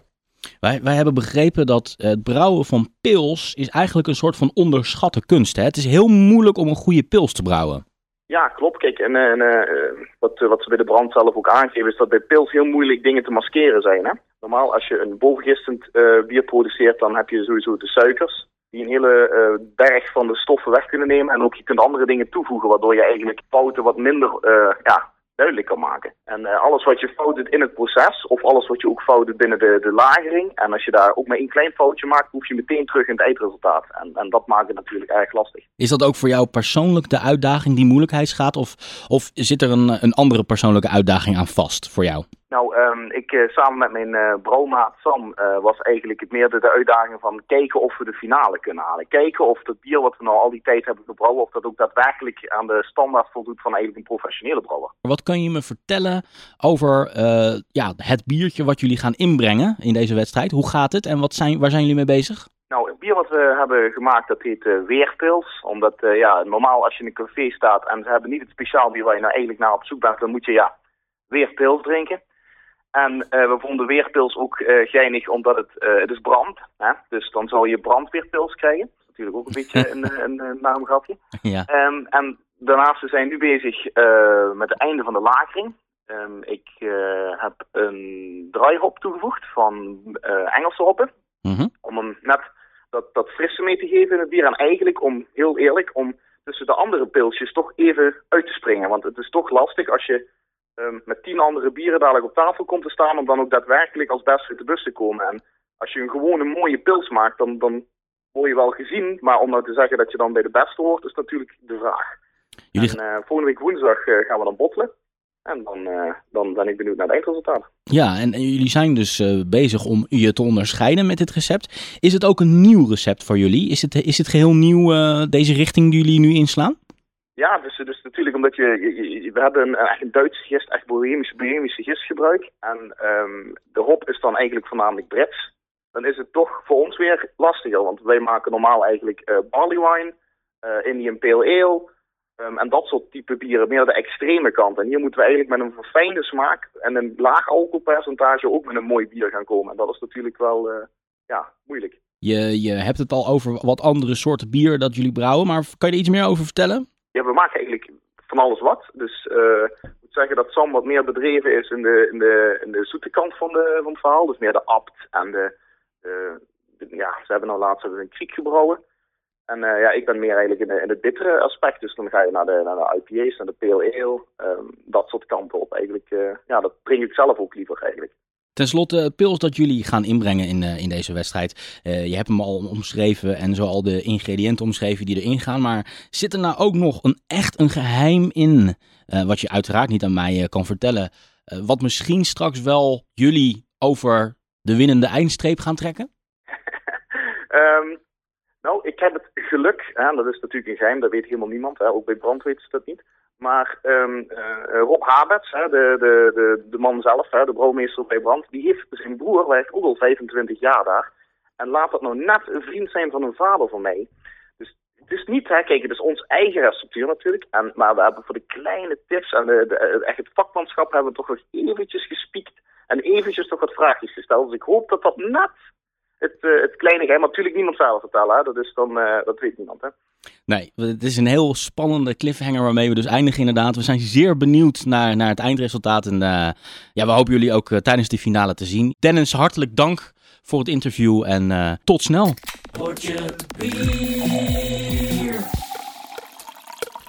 A: Wij, wij hebben begrepen dat eh, het brouwen van pils is eigenlijk een soort van onderschatte kunst. Hè? Het is heel moeilijk om een goede pils te brouwen.
G: Ja, klopt. Kijk, en, eh, en eh, eh, wat, eh, wat ze bij de brand zelf ook aangeven is dat bij pils heel moeilijk dingen te maskeren zijn. Hè? Normaal, als je een bovengistend eh, bier produceert, dan heb je sowieso de suikers. Die een hele eh, berg van de stoffen weg kunnen nemen. En ook je kunt andere dingen toevoegen, waardoor je eigenlijk fouten wat minder eh, ja, duidelijk kan maken. En eh, alles wat je fout doet in het proces, of alles wat je ook fout doet binnen de, de lagering. En als je daar ook maar één klein foutje maakt, hoef je meteen terug in het eindresultaat. En, en dat maakt het natuurlijk erg lastig.
A: Is dat ook voor jou persoonlijk de uitdaging die moeilijkheidsgraad? Of, of zit er een, een andere persoonlijke uitdaging aan vast voor jou?
G: Nou, ehm, ik eh, samen met mijn eh brouwmaat Sam eh, was eigenlijk het meer de, de uitdaging van kijken of we de finale kunnen halen. Kijken of dat bier wat we nou al die tijd hebben gebrouwen, of dat ook daadwerkelijk aan de standaard voldoet van eigenlijk een professionele brouwer.
A: Wat kan je me vertellen over eh, ja, het biertje wat jullie gaan inbrengen in deze wedstrijd? Hoe gaat het en wat zijn, waar zijn jullie mee bezig?
G: Nou, het bier wat we hebben gemaakt, dat heet eh, Weerpils. Omdat, eh, ja, normaal als je in een café staat en ze hebben niet het speciaal bier waar je nou eigenlijk naar op zoek bent, dan moet je, ja, Weerpils drinken. En eh, we vonden Weerpils ook eh, geinig omdat het, eh, het is brand. Hè? Dus dan zal je brandweerpils krijgen. Dat is natuurlijk ook een beetje een, eh, een, eh, naamgrapje.
A: Ja.
G: Ehm, en daarnaast, we zijn nu bezig eh, met het einde van de lagering. Ehm, ik eh, heb een draaihop toegevoegd van eh, Engelse hoppen
A: Mhm.
G: om hem net dat, dat frisse mee te geven in het bier. En eigenlijk, om heel eerlijk, om tussen de andere pilsjes toch even uit te springen. Want het is toch lastig als je ehm, met tien andere bieren dadelijk op tafel komt te staan, om dan ook daadwerkelijk als beste uit de bus te komen. En als je een gewone mooie pils maakt, dan, dan word je wel gezien. Maar om nou te zeggen dat je dan bij de beste hoort, is natuurlijk de vraag.
A: Jullie,
G: En eh, volgende week woensdag eh, gaan we dan bottelen. En dan, eh, dan ben ik benieuwd naar het eindresultaat.
A: ja, en, en jullie zijn dus eh, bezig om je te onderscheiden met dit recept. Is het ook een nieuw recept voor jullie? Is het, is het geheel nieuw, eh, deze richting die jullie nu inslaan?
G: Ja, dus, dus natuurlijk omdat je, je- je- we hebben een, echt een Duitse gist, echt bohemische, bohemische gistgebruik. En ehm, de hop is dan eigenlijk voornamelijk Brits. Dan is het toch voor ons weer lastiger, want wij maken normaal eigenlijk eh, barley wine, eh, Indian pale ale ehm, en dat soort type bieren, meer de extreme kant. En hier moeten we eigenlijk met een verfijnde smaak en een laag alcoholpercentage ook met een mooi bier gaan komen. En dat is natuurlijk wel eh, ja, moeilijk.
A: Je, je hebt het al over wat andere soorten bier dat jullie brouwen, maar kan je er iets meer over vertellen?
G: ja, we maken eigenlijk van alles wat. Dus eh, ik moet zeggen dat Sam wat meer bedreven is in de, in de, in de zoete kant van, de, van het verhaal. Dus meer de abt en de, eh, de- ja, ze hebben nou laatst hebben we een kriek gebrouwen. En eh, ja, ik ben meer eigenlijk in, de, in het bittere aspect. Dus dan ga je naar de, naar de IPA's, naar de pale ale, ehm, dat soort kanten op. Eigenlijk, eh, ja, dat drink ik zelf ook liever eigenlijk.
A: Ten slotte, het pils dat jullie gaan inbrengen in, eh, in deze wedstrijd. Eh, je hebt hem al omschreven en zo al de ingrediënten omschreven die erin gaan. Maar zit er nou ook nog een, echt een geheim in? eh, wat je uiteraard niet aan mij eh, kan vertellen. eh, wat misschien straks wel jullie over de winnende eindstreep gaan trekken?
G: Ehm, nou, ik heb het geluk, hè, dat is natuurlijk een geheim, dat weet helemaal niemand, hè, ook bij brand weten ze dat niet. Maar ehm, eh, Rob Habets, hè, de, de, de, de man zelf, hè, de brouwmeester bij brand, die heeft zijn broer, hij heeft ook al 25 jaar daar. En laat dat nou net een vriend zijn van een vader van mij. Dus het is niet, hè, kijk, het is ons eigen receptuur natuurlijk. En, maar we hebben voor de kleine tips en de, de- echt het vakmanschap hebben we toch nog eventjes gespiekt. En eventjes toch wat vraagjes gesteld. Dus ik hoop dat dat net het, eh, het kleine geheim. Maar natuurlijk niemand zal het vertellen. Hè? Dat, is dan, eh, dat weet niemand. Hè?
A: Nee, het is een heel spannende cliffhanger waarmee we dus eindigen inderdaad. We zijn zeer benieuwd naar, naar het eindresultaat. En eh, ja, we hopen jullie ook eh, tijdens de finale te zien. Dennis, hartelijk dank voor het interview en eh, tot snel.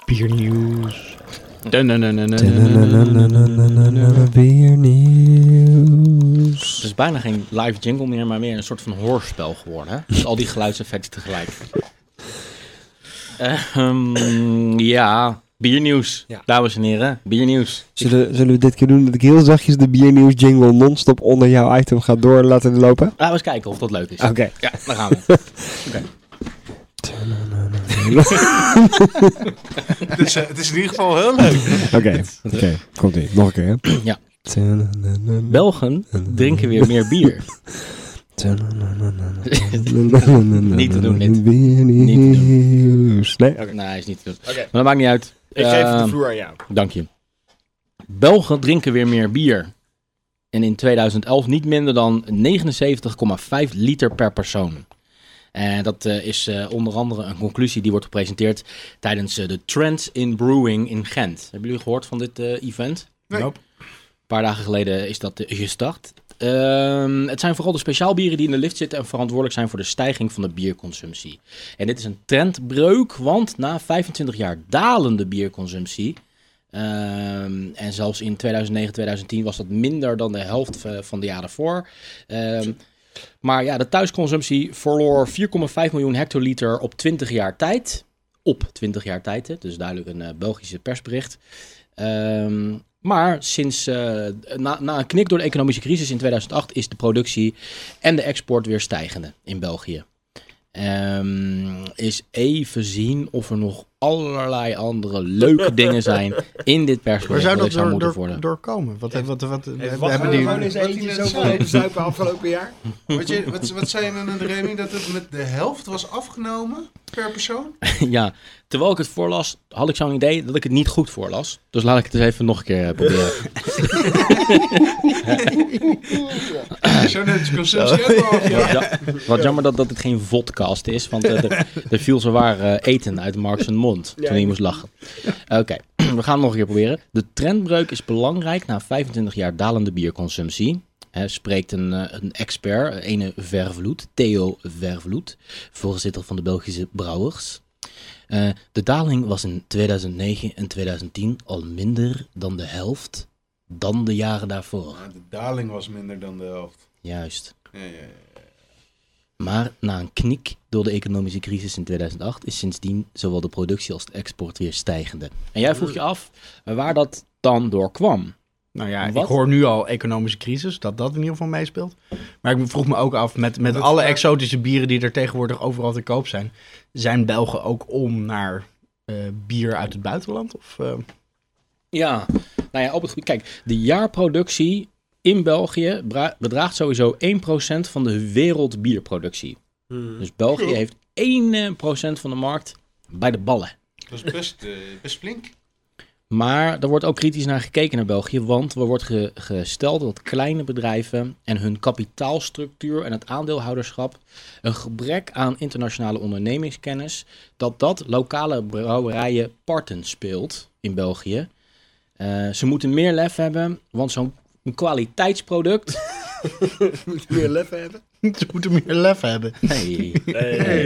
C: Biernieuws.
A: Het is bijna geen live jingle meer, maar meer een soort van hoorspel geworden. Hè? Dus al die geluidseffecten tegelijk. Eh, ehm, ja, biernieuws.
B: Ja.
A: Dames en heren, biernieuws.
H: Zullen, zullen we dit keer doen dat ik heel zachtjes de biernieuws jingle non-stop onder jouw item ga door laten lopen?
A: Laten we eens kijken of dat leuk is.
H: Oké.
A: Ja, daar gaan we. Oké.
E: Dus, eh, het is in ieder geval heel leuk.
H: Oké, oké. Komt ie. Nog een keer, hè?
A: Ja. Belgen drinken weer meer bier. Niet te doen, dit. Niet te
H: Nee? Oké.
A: Nee, is niet te doen.
B: Oké.
A: Maar dat maakt niet uit.
B: Ik geef
A: Eh,
B: de vloer aan jou.
A: Dank je. Belgen drinken weer meer bier. En in 2011 niet minder dan 79,5 liter per persoon. En dat eh, is eh, onder andere een conclusie die wordt gepresenteerd tijdens eh, de Trends in Brewing in Gent. Hebben jullie gehoord van dit eh, event?
E: Nee. Nope.
A: Een paar dagen geleden is dat eh, gestart. Ehm, het zijn vooral de speciaalbieren die in de lift zitten en verantwoordelijk zijn voor de stijging van de bierconsumptie. En dit is een trendbreuk, want na 25 jaar dalende bierconsumptie Ehm, en zelfs in 2009, 2010 was dat minder dan de helft eh, van de jaren voor. Ehm, maar ja, de thuisconsumptie verloor 4,5 miljoen hectoliter op 20 jaar tijd. Op 20 jaar tijd, hè. dus duidelijk een eh, Belgische persbericht. Ehm, maar sinds, eh, na, na een knik door de economische crisis in 2008 is de productie en de export weer stijgende in België. Ehm, is even zien of er nog allerlei andere leuke dingen zijn in dit
C: Waar
A: persbericht.
C: zou
A: dat ik
C: dat
A: zou
C: door,
A: moeten
C: door,
A: worden.
C: doorkomen? Wat, wat, wat, wat, we
B: Wat
E: eh,
C: hebben
B: hebben we
C: die...
B: gewoon eens eentje zo van zuipen afgelopen jaar?
E: Wat, je, wat, wat zei je dan aan de Remy? Dat het met de helft was afgenomen per persoon?
A: Ja, terwijl ik het voorlas, had ik zo'n idee dat ik het niet goed voorlas. Dus laat ik het eens even nog een keer eh, proberen.
E: Zo net als consumptie ook wel af, ja.
A: Wat, ja- wat jammer dat, dat het geen vodcast is, want eh, er, er viel zowaar eh, eten uit Marks mond toen hij moest lachen. Oké, we gaan het nog een keer proberen. De trendbreuk is belangrijk na 25 jaar dalende bierconsumptie. Hè, spreekt een, eh, een expert, eh, ene Vervloed, Theo Vervloed, voorzitter van de Belgische Brouwers. Eh, de daling was in 2009 en 2010 al minder dan de helft dan de jaren daarvoor.
E: Maar De daling was minder dan de helft.
A: Juist.
E: Ja, ja, ja.
A: Maar na een knik door de economische crisis in 2008 is sindsdien zowel de productie als de export weer stijgende. En jij vroeg je af eh, waar dat dan door kwam.
C: Nou ja,
A: Wat?
C: ik hoor nu al economische crisis, dat dat in ieder geval meespeelt. Maar ik vroeg me ook af, met, met alle exotische bieren die er tegenwoordig overal te koop zijn, zijn Belgen ook om naar eh, bier uit het buitenland? Of, eh,
A: Ja, nou ja, op het gebied. Kijk, de jaarproductie in België bra- bedraagt sowieso 1% van de wereldbierproductie. Dus België heeft 1% van de markt bij de ballen.
E: Dat is best, eh, best flink.
A: Maar er wordt ook kritisch naar gekeken naar België, want er wordt ge- gesteld dat kleine bedrijven en hun kapitaalstructuur en het aandeelhouderschap een gebrek aan internationale ondernemingskennis, dat dat lokale brouwerijen parten speelt in België. Eh, ze moeten meer lef hebben, want zo'n kwaliteitsproduct...
B: Moet je meer lef hebben?
C: ze moeten meer lef hebben.
A: Nee,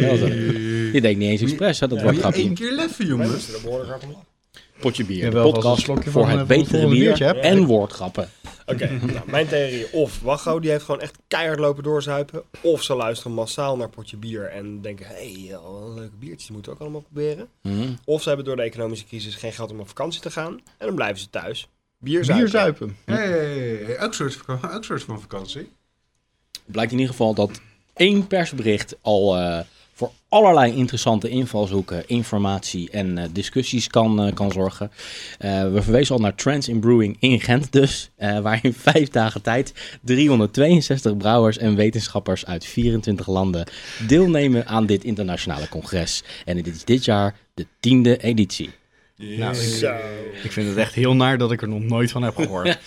A: je denkt niet eens expres, hè, dat wordt grapje.
E: keer leffen,
B: Wij moesten er behoorlijk hard om lachen.
A: Potje bier,
C: Ja,
A: de
C: wel, als een
A: podcast
C: slokje
A: voor
C: van, eh,
A: het
C: van het
A: betere
C: volgende
A: bier
C: biertje, hè?
A: en woordgrappen.
B: Oké, nou, mijn theorie. Of Wacho, die heeft gewoon echt keihard lopen doorzuipen. Of ze luisteren massaal naar potje bier en denken... Hé, hey, wat een leuke biertjes, die moeten we ook allemaal proberen.
A: Hm.
B: Of ze hebben door de economische crisis geen geld om op vakantie te gaan. En dan blijven ze thuis. Bier zuipen.
C: Bier zuipen.
E: Hey, hey, hey. Ook, soort van, ook soort van vakantie.
A: blijkt in ieder geval dat één persbericht al eh, voor allerlei interessante invalshoeken, informatie en eh, discussies kan, eh, kan zorgen. Eh, we verwezen al naar Trends in Brewing in Gent dus, eh, waar in vijf dagen tijd 362 brouwers en wetenschappers uit 24 landen deelnemen aan dit internationale congres. En dit is dit jaar de tiende editie.
C: Nou, ik,
B: Zo.
C: ik vind het echt heel naar dat ik er nog nooit van heb gehoord.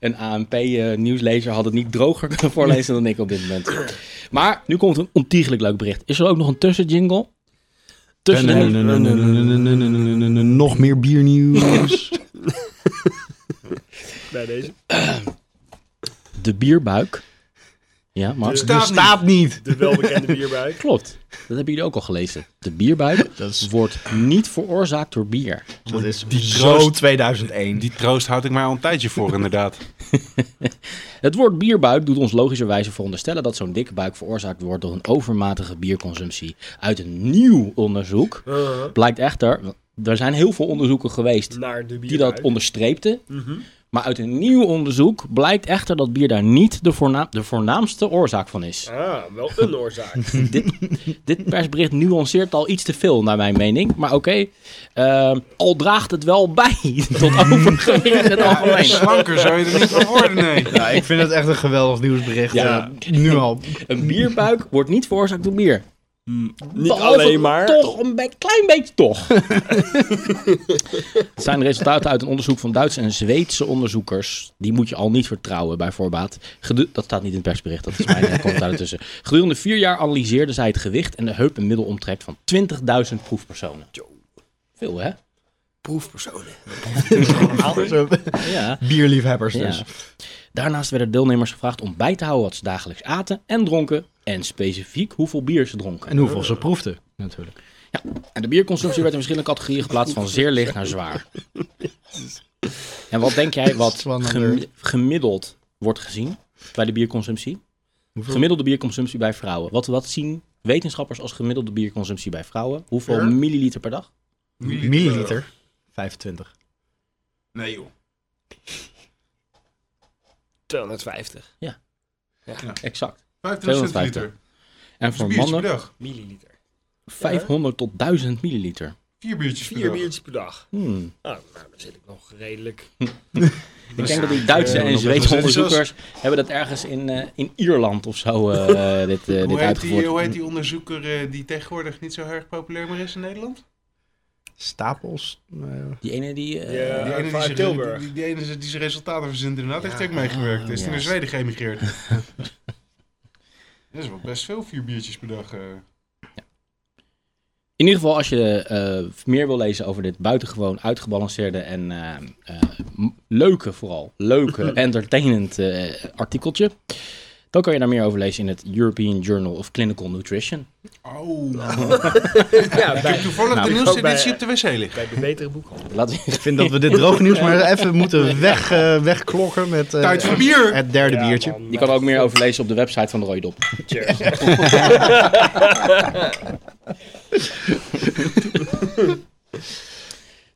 A: een ANP-nieuwslezer eh, had het niet droger kunnen voorlezen dan ik op dit moment. Maar nu komt een ontiegelijk leuk bericht. Is er ook nog een tussenjingle? Tussen
C: Nog meer biernieuws.
B: Bij deze.
A: de bierbuik. Ja, Max? Dus-
E: Staat niet.
C: Staat niet.
B: De welbekende bierbuik.
A: Klopt. Dat hebben jullie ook al gelezen. De bierbuik
C: Dat is,
A: wordt niet veroorzaakt door bier.
C: dat is
E: Die
C: zo
E: troost.
C: 2001.
E: Die troost houd ik maar al een tijdje voor, inderdaad.
A: Het woord bierbuik doet ons logischerwijze veronderstellen dat zo'n dikke buik veroorzaakt wordt door een overmatige bierconsumptie. Uit een nieuw onderzoek
E: Uh-huh.
A: blijkt echter, er zijn heel veel onderzoeken geweest
B: Naar de
A: die
B: bierbuik.
A: dat onderstreepte. Maar uit een nieuw onderzoek blijkt echter dat bier daar niet de, voornaam, de voornaamste oorzaak van is.
B: Ah, wel een oorzaak.
A: dit, dit persbericht nuanceert al iets te veel, naar mijn mening. Maar oké, ehm, al draagt het wel bij tot overgewicht in het algemeen.
E: Slanker zou je er niet van worden, nee.
C: Ja, ik vind het echt een geweldig nieuwsbericht.
A: Ja.
C: eh, nu al.
A: Een bierbuik wordt niet veroorzaakt door bier.
B: Hmm, Niet
A: Behalve
B: alleen maar.
A: Toch een be- klein beetje toch. Het zijn resultaten uit een onderzoek van Duitse en Zweedse onderzoekers. Die moet je al niet vertrouwen bij voorbaat. Gedu- dat staat niet in het persbericht, dat is mijn eh, commentaar ertussen. Gedurende vier jaar analyseerden zij het gewicht en de heup- en middelomtrek van 20.000 proefpersonen. Veel hè?
B: Proefpersonen.
C: Zo,
A: Ja.
C: Bierliefhebbers dus.
A: Ja. Daarnaast werden deelnemers gevraagd om bij te houden wat ze dagelijks aten en dronken. En specifiek hoeveel bier ze dronken.
C: En hoeveel ze proefden, natuurlijk.
A: En de bierconsumptie werd in verschillende categorieën geplaatst van zeer licht naar zwaar. En wat denk jij wat
C: Spannender.
A: gemi- gemiddeld wordt gezien bij de bierconsumptie?
C: Hoeveel?
A: Gemiddelde bierconsumptie bij vrouwen. Wat, wat zien wetenschappers als gemiddelde bierconsumptie bij vrouwen? Hoeveel
E: Ja.
A: milliliter per dag?
E: eh,
C: Milliliter. 25.
E: Nee, joh.
B: 250
A: Exact.
E: 25
A: 250.
E: liter.
A: En
E: Dat is een
A: voor
E: biertje per
A: mannen
E: dag.
B: milliliter.
A: 500 tot 1000 milliliter.
E: Vier biertjes per
B: Vier
E: dag.
B: biertjes per dag.
A: Hmm.
B: Ah, nou, dan zit ik nog redelijk.
A: Ik denk dat die Duitse
E: eh,
A: en
E: nog
A: Zweedse
E: even
A: onderzoekers hebben dat ergens in, eh, in Ierland of zo eh, dit, eh, dit
E: Hoe heet, die, hoe
A: uitgevoerd.
E: heet die onderzoeker eh, die tegenwoordig niet zo erg populair meer is in Nederland?
C: Stapels. eh,
A: Die ene die... eh,
B: Ja.
E: die, ene die,
B: vanuit
E: zijn-
B: Tilburg.
E: Die, die ene die zijn resultaten verzint inderdaad, heeft ook meegewerkt. Is
A: ja.
E: in naar Zweden geëmigreerd. dat is wel best veel, vier biertjes per dag. eh.
A: In ieder geval, als je eh, meer wil lezen over dit buitengewoon uitgebalanceerde en eh, eh, m- leuke, vooral leuke, entertainend eh, artikeltje, dan kan je daar meer over lezen in het European Journal of Clinical Nutrition.
E: Oh,
B: Ja,
E: ik heb
B: bij,
E: toevallig
A: Nou,
E: de
A: ik
E: nieuwste
B: ook bij-
E: editie op de wc liggen.
B: bij de betere boekhandel.
A: Laten we-
C: Ik vind dat we dit droognieuws maar even moeten weg, eh, wegklokken met eh,
E: Tijd voor bier!
C: het derde
B: Ja,
C: biertje.
B: man,
A: je kan er ook meer over lezen op de website van de Rode Dop.
B: Cheers.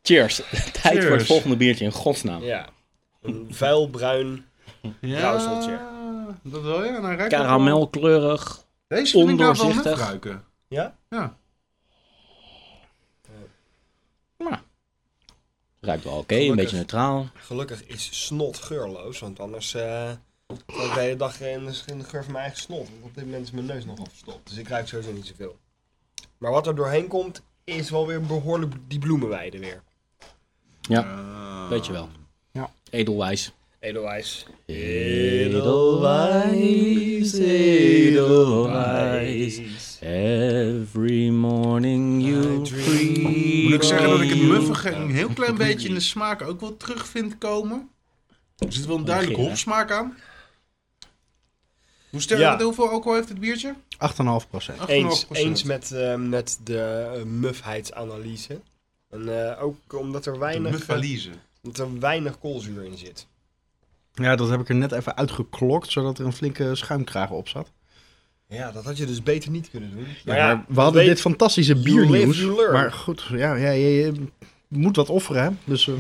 A: Cheers. Tijd voor het
E: Cheers.
A: volgende biertje, in godsnaam.
B: Ja. Een vuil bruin. Rauwseltje.
E: dat wil je. En hij ruikt ook wel-
A: Karamelkleurig.
E: Deze vind ik nou wel net
A: ondoorzichtig.
E: ruiken.
B: Ja?
E: Ja.
A: Ruikt wel oké, een
B: Gelukkig.
A: beetje neutraal.
B: Gelukkig is snot geurloos, want anders eh zat ik de hele dag in de, in de geur van mijn eigen snot. Want op dit moment is mijn neus nog afgestopt, dus ik ruik sowieso niet zoveel. Maar wat er doorheen komt, is wel weer behoorlijk die bloemenweide weer.
A: Weet je wel.
C: Ja.
A: Edelwijs.
B: Edelwijs.
A: Edelwijs, edelwijs. Every morning you free.
E: Moet ik zeggen dat ik het muffige een heel klein beetje in de smaak ook wel terug vind komen. Er zit wel een duidelijke
A: Geel, hè?
E: hopsmaak aan. Hoe sterk,
B: Ja.
E: wat- hoeveel alcohol heeft het biertje?
C: 8,5 procent.
E: 8,5%.
B: Eens, eens met, eh, met de eh, mufheidsanalyse. En eh, ook omdat er
E: De
B: weinig,
E: muffalize.
B: omdat er weinig koolzuur in zit.
C: Ja, dat heb ik er net even uitgeklokt, zodat er een flinke schuimkraag op zat.
B: Ja, dat had je dus beter niet kunnen doen.
C: Ja, maar we hadden dit fantastische
B: You live,
C: biernieuws.
B: you learn.
C: Maar goed, ja, ja, je, je moet wat offeren, hè. Dus eh,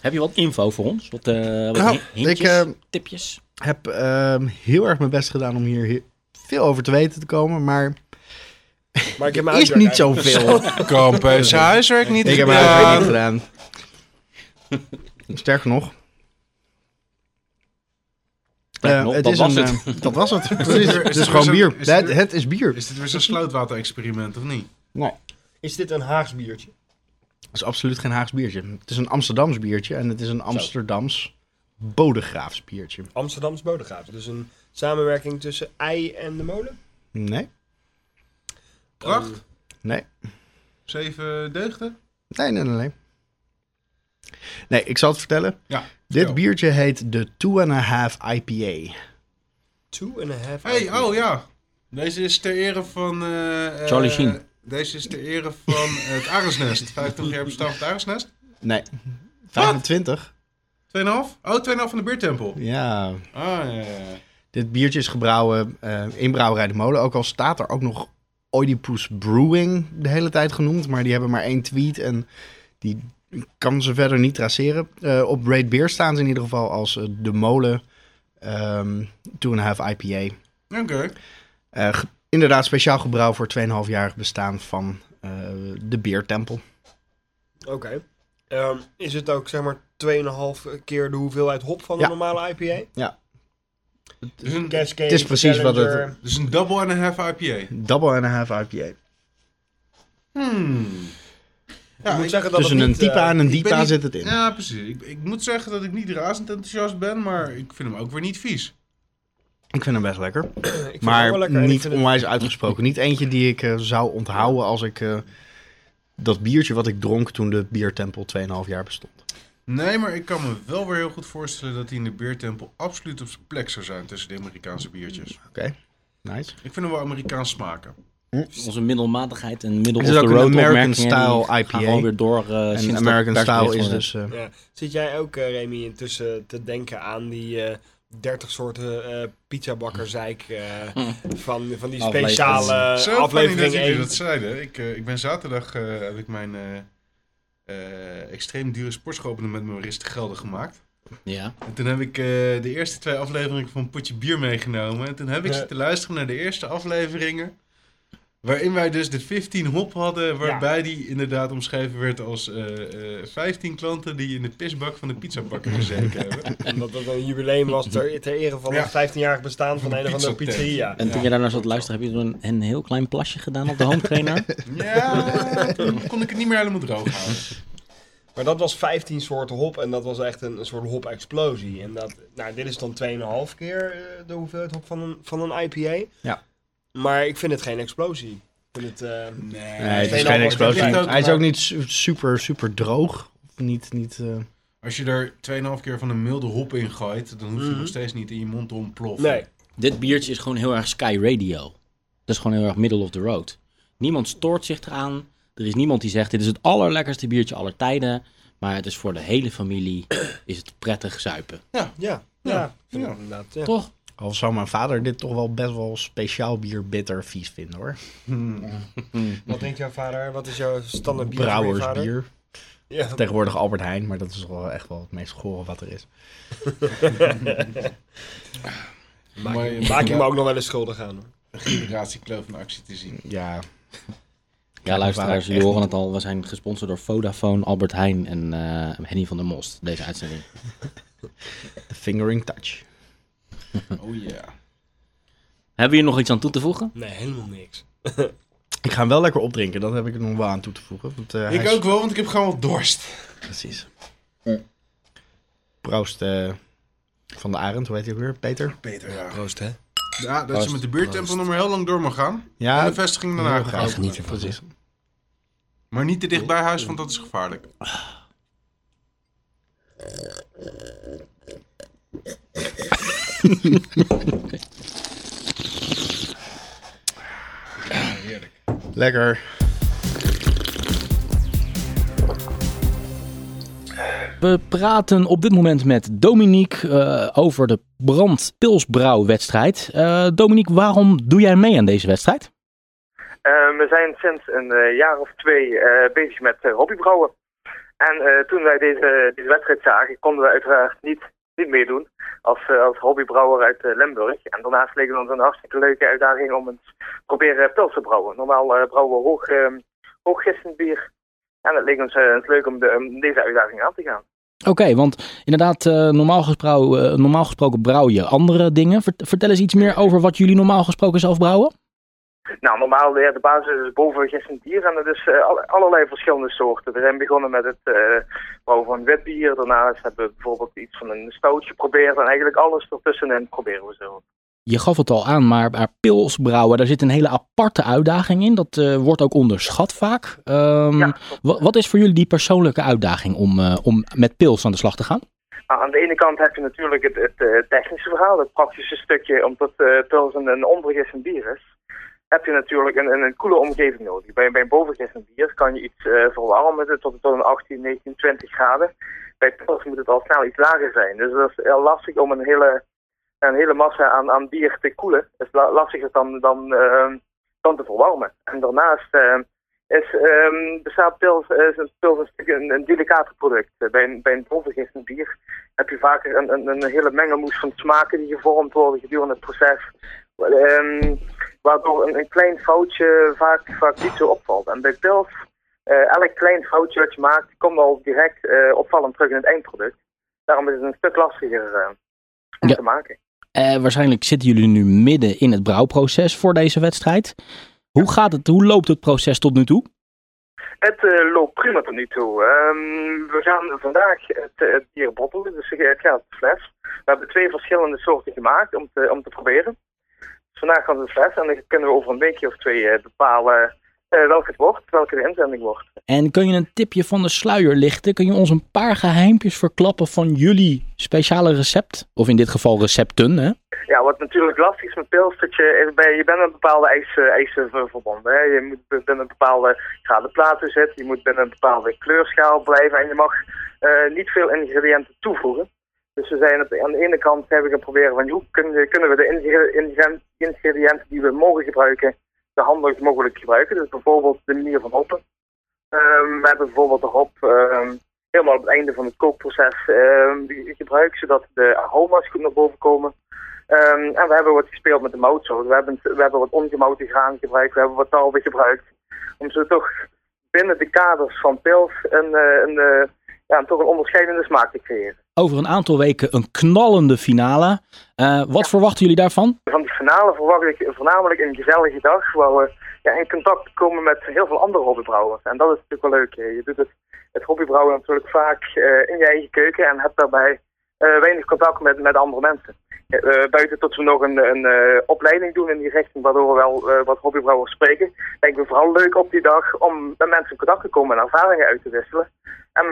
A: Heb je wat info voor ons? Wat, eh wat
C: Nou,
A: hi- hintjes,
C: ik, eh,
A: tipjes?
C: heb ehm, heel erg mijn best gedaan om hier he- veel over te weten te komen, maar
B: Maar ik heb mijn
C: is
B: huiswerk
C: niet zoveel.
E: Kamp heeft eh, zijn huiswerk niet
C: ik heb mijn huiswerk niet gedaan. Sterker nog.
A: Sterker
C: eh,
A: nog,
C: het
A: dat
C: is
A: was
C: een,
A: het.
C: eh, dat was het.
E: er- is
C: Precies.
E: er
C: Het
E: weer
C: is gewoon
E: zo'n-
C: bier.
E: is er-
C: Het, het is bier.
E: Is dit weer zo'n slootwater-experiment of niet?
B: Is dit een Haags biertje?
C: Het is absoluut geen Haags biertje. Het is een Amsterdams biertje en het is een Amsterdams bodegraafs biertje.
B: Amsterdams Bodegraven. Dus een samenwerking tussen ei en de molen.
C: Nee,
E: Pracht.
C: nee,
E: Zeven deugden.
C: nee, nee, nee. Nee, nee ik zal het vertellen.
E: Ja.
C: Dit
E: Ja.
C: biertje heet de Two and a Half IPA.
B: Two and a half.
E: Hey, oh ja. Deze is ter ere van... eh, eh,
A: Charlie Sheen.
E: Deze is ter ere van het Arendsnest. 50 jaar bestaan van het Arendsnest. 2,5?
C: Nee. 25?
E: Oh, 2,5 van de Beertempel.
C: Ja.
E: Ah, ja, ja, ja.
C: Dit biertje is gebrouwen eh, in Brouwerij de Molen. Ook al staat er ook nog Oedipus Brewing de hele tijd genoemd. Maar die hebben maar één tweet. En die Ik kan ze verder niet traceren. Eh, op Raid Beer staan ze in ieder geval als eh, de molen ehm 2,5 IPA.
E: Oké.
C: Eh, ge- inderdaad, speciaal gebrouwen voor 2,5-jarig bestaan van eh, de Beertempel.
B: Oké. Ehm, is het ook zeg maar 2,5 keer de hoeveelheid hop van
C: Ja.
B: een normale IPA?
E: Dus een,
B: Cascade,
C: Het is precies wat het-
B: Challenger.
E: dus een double and a half IPA.
C: Double and a half IPA.
E: Hmm. Ja,
B: ik moet
E: ik-
B: zeggen dat
C: Tussen
B: het
C: een
B: niet,
C: type
B: eh,
C: A en een
E: ik ben
C: diepa
E: niet-
C: zit het in.
E: Ja, precies. Ik, ik moet zeggen dat ik niet razend enthousiast ben, maar ik vind hem ook weer niet vies.
C: Ik vind hem best lekker.
B: ik vind het wel
C: Maar
B: lekker en ik
C: niet
B: vind het-
C: onwijs uitgesproken. Niet eentje die ik eh, zou onthouden als ik eh, dat biertje wat ik dronk toen de biertempel 2,5 jaar bestond.
E: Nee, maar ik kan me wel weer heel goed voorstellen dat hij in de beertempel absoluut op zijn plek zou zijn tussen de Amerikaanse biertjes.
C: Oké, nice.
E: Ik vind hem wel Amerikaans smaken.
A: Onze middelmatigheid en middle of
C: Het eh, is
A: the
C: ook een
A: road
C: American
A: opmerkingen, die
C: style
A: gaan
C: IPA.
A: gewoon weer door eh, sinds
C: En
A: dat
C: American
A: persbericht
C: Style is
A: van-
C: dus... eh,
B: Ja. Zit jij ook, eh, Remy, intussen te denken aan die eh 30 soorten eh pizzabakkerzeik eh,
C: Hm.
B: van, van die
A: Aflevering.
B: speciale
E: Zo
B: eh,
E: fijn dat
B: aflevering
E: jullie
B: 1?
E: dat zeiden. Ik, eh, ik ben zaterdag, eh, heb ik mijn eh, eh, extreem dure sportschoolpende met mijn wrist gelden gemaakt.
C: dus.
A: Ja.
E: En toen heb ik eh, de eerste twee afleveringen van Potje Bier meegenomen. En toen heb ik
B: Ja.
E: zitten luisteren naar de eerste afleveringen. Waarin wij dus de 15 hop hadden, waarbij die inderdaad omschreven werd als eh, eh, 15 klanten die in de pisbak van de pizzabakker gezeten hebben.
B: Omdat dat een jubileum was ter, ter ere van
E: Ja.
B: het 15-jarig bestaan van een of andere
E: Pizzatent.
B: pizzeria.
A: En toen je daarnaar zat luisteren, heb je toen een, een heel klein plasje gedaan op de home trainer.
E: Ja, toen kon ik het niet meer helemaal droog houden.
B: Maar dat was 15 soorten hop en dat was echt een, een soort hop-explosie. En dat, nou, dit is dan 2,5 keer eh, de hoeveelheid hop van een, van een IPA.
C: Ja.
B: Maar ik vind het geen explosie. Ik vind het, eh,
C: nee, het is
B: Tweeënhalf
C: geen
B: wordt
C: explosie.
E: het ook,
C: Hij is
B: maar-
C: ook niet su- super, super droog. Of Niet, niet, eh,
E: Als je er 2,5 keer van een milde hop in gooit, dan hoef je
B: Mhm.
E: nog steeds niet in je mond te ontploffen.
B: nee,
A: Dit biertje is gewoon heel erg Sky Radio. Dat is gewoon heel erg middle of the road. Niemand stoort zich eraan. Er is niemand die zegt, dit is het allerlekkerste biertje aller tijden. Maar het is voor de hele familie, is het prettig zuipen.
B: ja. Ja,
E: Ja.
B: ik vind
E: Ja.
B: het inderdaad, ja.
A: Toch?
C: al zou mijn vader dit toch wel best wel speciaal bier bitter vies vinden hoor.
B: Wat denkt jouw vader? Wat is jouw standaard bier? voor je vader?
C: Brouwersbier.
B: Ja.
C: Tegenwoordig Albert Heijn, maar dat is wel echt wel het meest gore wat er is.
E: Mooi, eh,
B: Maak je me ook nog wel eens schuldig aan. hoor.
E: een generatiekloof van actie te zien.
C: Ja,
A: Ja, luisteraars,
C: Echt
A: jullie horen het al. We zijn gesponsord door Vodafone, Albert Heijn en eh, Henny van der Most. Deze uitzending.
C: de fingering touch.
E: Oh ja.
A: Hebben we hier nog iets aan toe te voegen?
B: Nee, helemaal niks.
C: Ik ga hem wel lekker opdrinken, dat heb ik er nog wel aan toe te voegen. Want, eh, hij
E: Ik
C: is-
E: ook wel, want ik heb gewoon wat dorst.
C: Precies. Proost eh, van de Arend, hoe heet hij ook weer? Peter?
E: Peter, ja.
B: Proost, hè?
E: Ja, dat ze met de buurttempel nog maar heel lang door mag gaan. En
C: Ja,
E: de vestiging daarna
C: heel
E: gaan.
C: graag.
E: openen.
C: Precies.
E: Maar niet te dicht bij huis, want dat is gevaarlijk.
C: Lekker.
A: We praten op dit moment met Dominique eh, over de brand pilsbrouwwedstrijd. Eh Dominique, waarom doe jij mee aan deze wedstrijd?
G: Eh, we zijn sinds een eh, jaar of twee eh, bezig met eh, hobbybrouwen. En eh, toen wij deze, deze wedstrijd zagen, konden we uiteraard niet, niet meedoen als, eh, als hobbybrouwer uit eh, Limburg. En daarnaast leek het ons een hartstikke leuke uitdaging om eens te proberen pils te brouwen. Normaal eh, brouwen we hoog, ehm hooggistend bier. En het leek ons eh, eens leuk om, de, om deze uitdaging aan te gaan.
A: Oké, want inderdaad, eh, normaal, gesproken, eh, normaal gesproken brouw je andere dingen. Vert- vertel eens iets meer over wat jullie normaal gesproken zelf brouwen.
G: Nou, normaal ja, de basis is boven gisteren bier en dat is eh, alle- allerlei verschillende soorten. We zijn begonnen met het eh, brouwen van wit bier. Daarnaast hebben we bijvoorbeeld iets van een stout geprobeerd. En eigenlijk alles ertussenin proberen we zo.
A: Je gaf het al aan, maar, maar pils brouwen, daar zit een hele aparte uitdaging in. Dat eh, wordt ook onderschat vaak. Ehm,
G: Ja.
A: wa- wat is voor jullie die persoonlijke uitdaging om, eh, om met pils aan de slag te gaan?
G: Nou, aan de ene kant heb je natuurlijk het, het eh, technische verhaal, het praktische stukje, omdat eh pils een, een onvergissend bier is. Heb je natuurlijk een, een, een koele omgeving nodig. Bij, bij een bovengissen bier kan je iets eh, verwarmen tot, tot een 18, 19, 20 graden. Bij pils moet het al snel iets lager zijn. Dus dat is heel lastig om een hele, een hele massa aan, aan bier te koelen. Dat is la- lastiger dan, dan, eh, dan te verwarmen. En daarnaast eh, eh, is, ehm, bestaat pils, is een pils een, stuk- een, een delicater product. Eh, Bij een, bij een doorvergist bier heb je vaak een, een, een hele mengelmoes van smaken die gevormd worden gedurende het proces. Wa- ehm, waardoor een, een klein foutje vaak, vaak niet zo opvalt. En bij pils, eh, elk klein foutje wat je maakt, komt al direct eh, opvallend terug in het eindproduct. Daarom is het een stuk lastiger eh, om
A: Ja.
G: te maken.
A: Eh, waarschijnlijk zitten jullie nu midden in het brouwproces voor deze wedstrijd. Hoe gaat het? Hoe loopt het proces tot nu toe?
G: Het eh, loopt prima tot nu toe. Ehm, we gaan vandaag het, eh, het bier bottelen, dus het gaat op de fles. We hebben twee verschillende soorten gemaakt om te, om te proberen. Dus vandaag gaan we de fles en dan kunnen we over een weekje of twee eh, bepalen eh, welke het wordt, welke de inzending wordt.
A: En kun je een tipje van de sluier lichten? Kun je ons een paar geheimpjes verklappen van jullie speciale recept? Of in dit geval recepten, hè?
G: Ja, wat natuurlijk lastig is met pils, dat je, eh, bij- je bent aan bepaalde eisen, eisen ver- verbonden. Hè. Je moet be- binnen een bepaalde graden platen zitten, je moet binnen een bepaalde kleurschaal blijven en je mag eh, niet veel ingrediënten toevoegen. Dus we zijn het, aan de ene kant hebben we proberen van hoe kun je- kunnen we de ingre- ingre- ingrediënten die we mogen gebruiken, zo handig mogelijk gebruiken. Dus bijvoorbeeld de manier van hoppen. Ehm, we hebben bijvoorbeeld de hop ehm, helemaal op het einde van het kookproces ehm, gebruikt, zodat de aroma's goed naar boven komen. Ehm, en we hebben wat gespeeld met de mout. Zo. We, hebben, we hebben wat ongemouten graan gebruikt, we hebben wat tarwe gebruikt. Om zo toch binnen de kaders van pils een, eh, een, eh, ja, toch een onderscheidende smaak te creëren.
A: Over een aantal weken een knallende finale. Eh, wat verwachten jullie daarvan?
G: Van die finale verwacht ik voornamelijk een gezellige dag waar we ja, in contact komen met heel veel andere hobbybrouwers. En dat is natuurlijk wel leuk. hè. Je doet het, het hobbybrouwen natuurlijk vaak eh, in je eigen keuken en hebt daarbij eh, weinig contact met, met andere mensen. Eh, eh, buiten tot we nog een, een eh, opleiding doen in die richting, waardoor we wel eh, wat hobbybrouwers spreken, lijkt me vooral leuk op die dag om met mensen in contact te komen en ervaringen uit te wisselen. En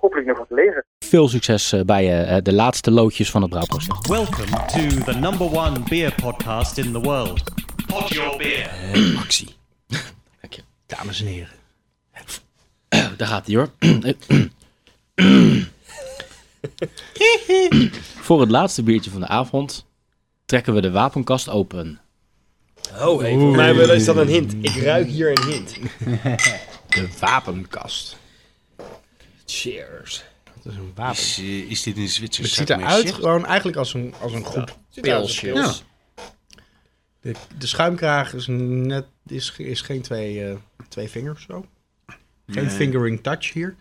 G: hopelijk nog wat te leren.
A: Veel succes eh, bij eh, de laatste loodjes van het brouwproces.
D: Welcome to the number one beer podcast in the world. Pod Your Beer.
A: Actie.
C: Dames en heren.
A: Daar gaat hij hoor. Voor het laatste biertje van de avond trekken we de wapenkast open.
B: Oh, hey, voor mij wel is dat een hint. Ik ruik hier een hint.
C: De wapenkast.
B: Cheers.
C: Dat is een wapen.
E: Is, eh, is dit in Zwitserse
C: Het ziet eruit gewoon eigenlijk als een, als een groep pilsjes.
B: Pils.
C: De, de schuimkraag is, net, is, ge- is geen twee, eh, twee vingers zo. Geen fingering touch hier.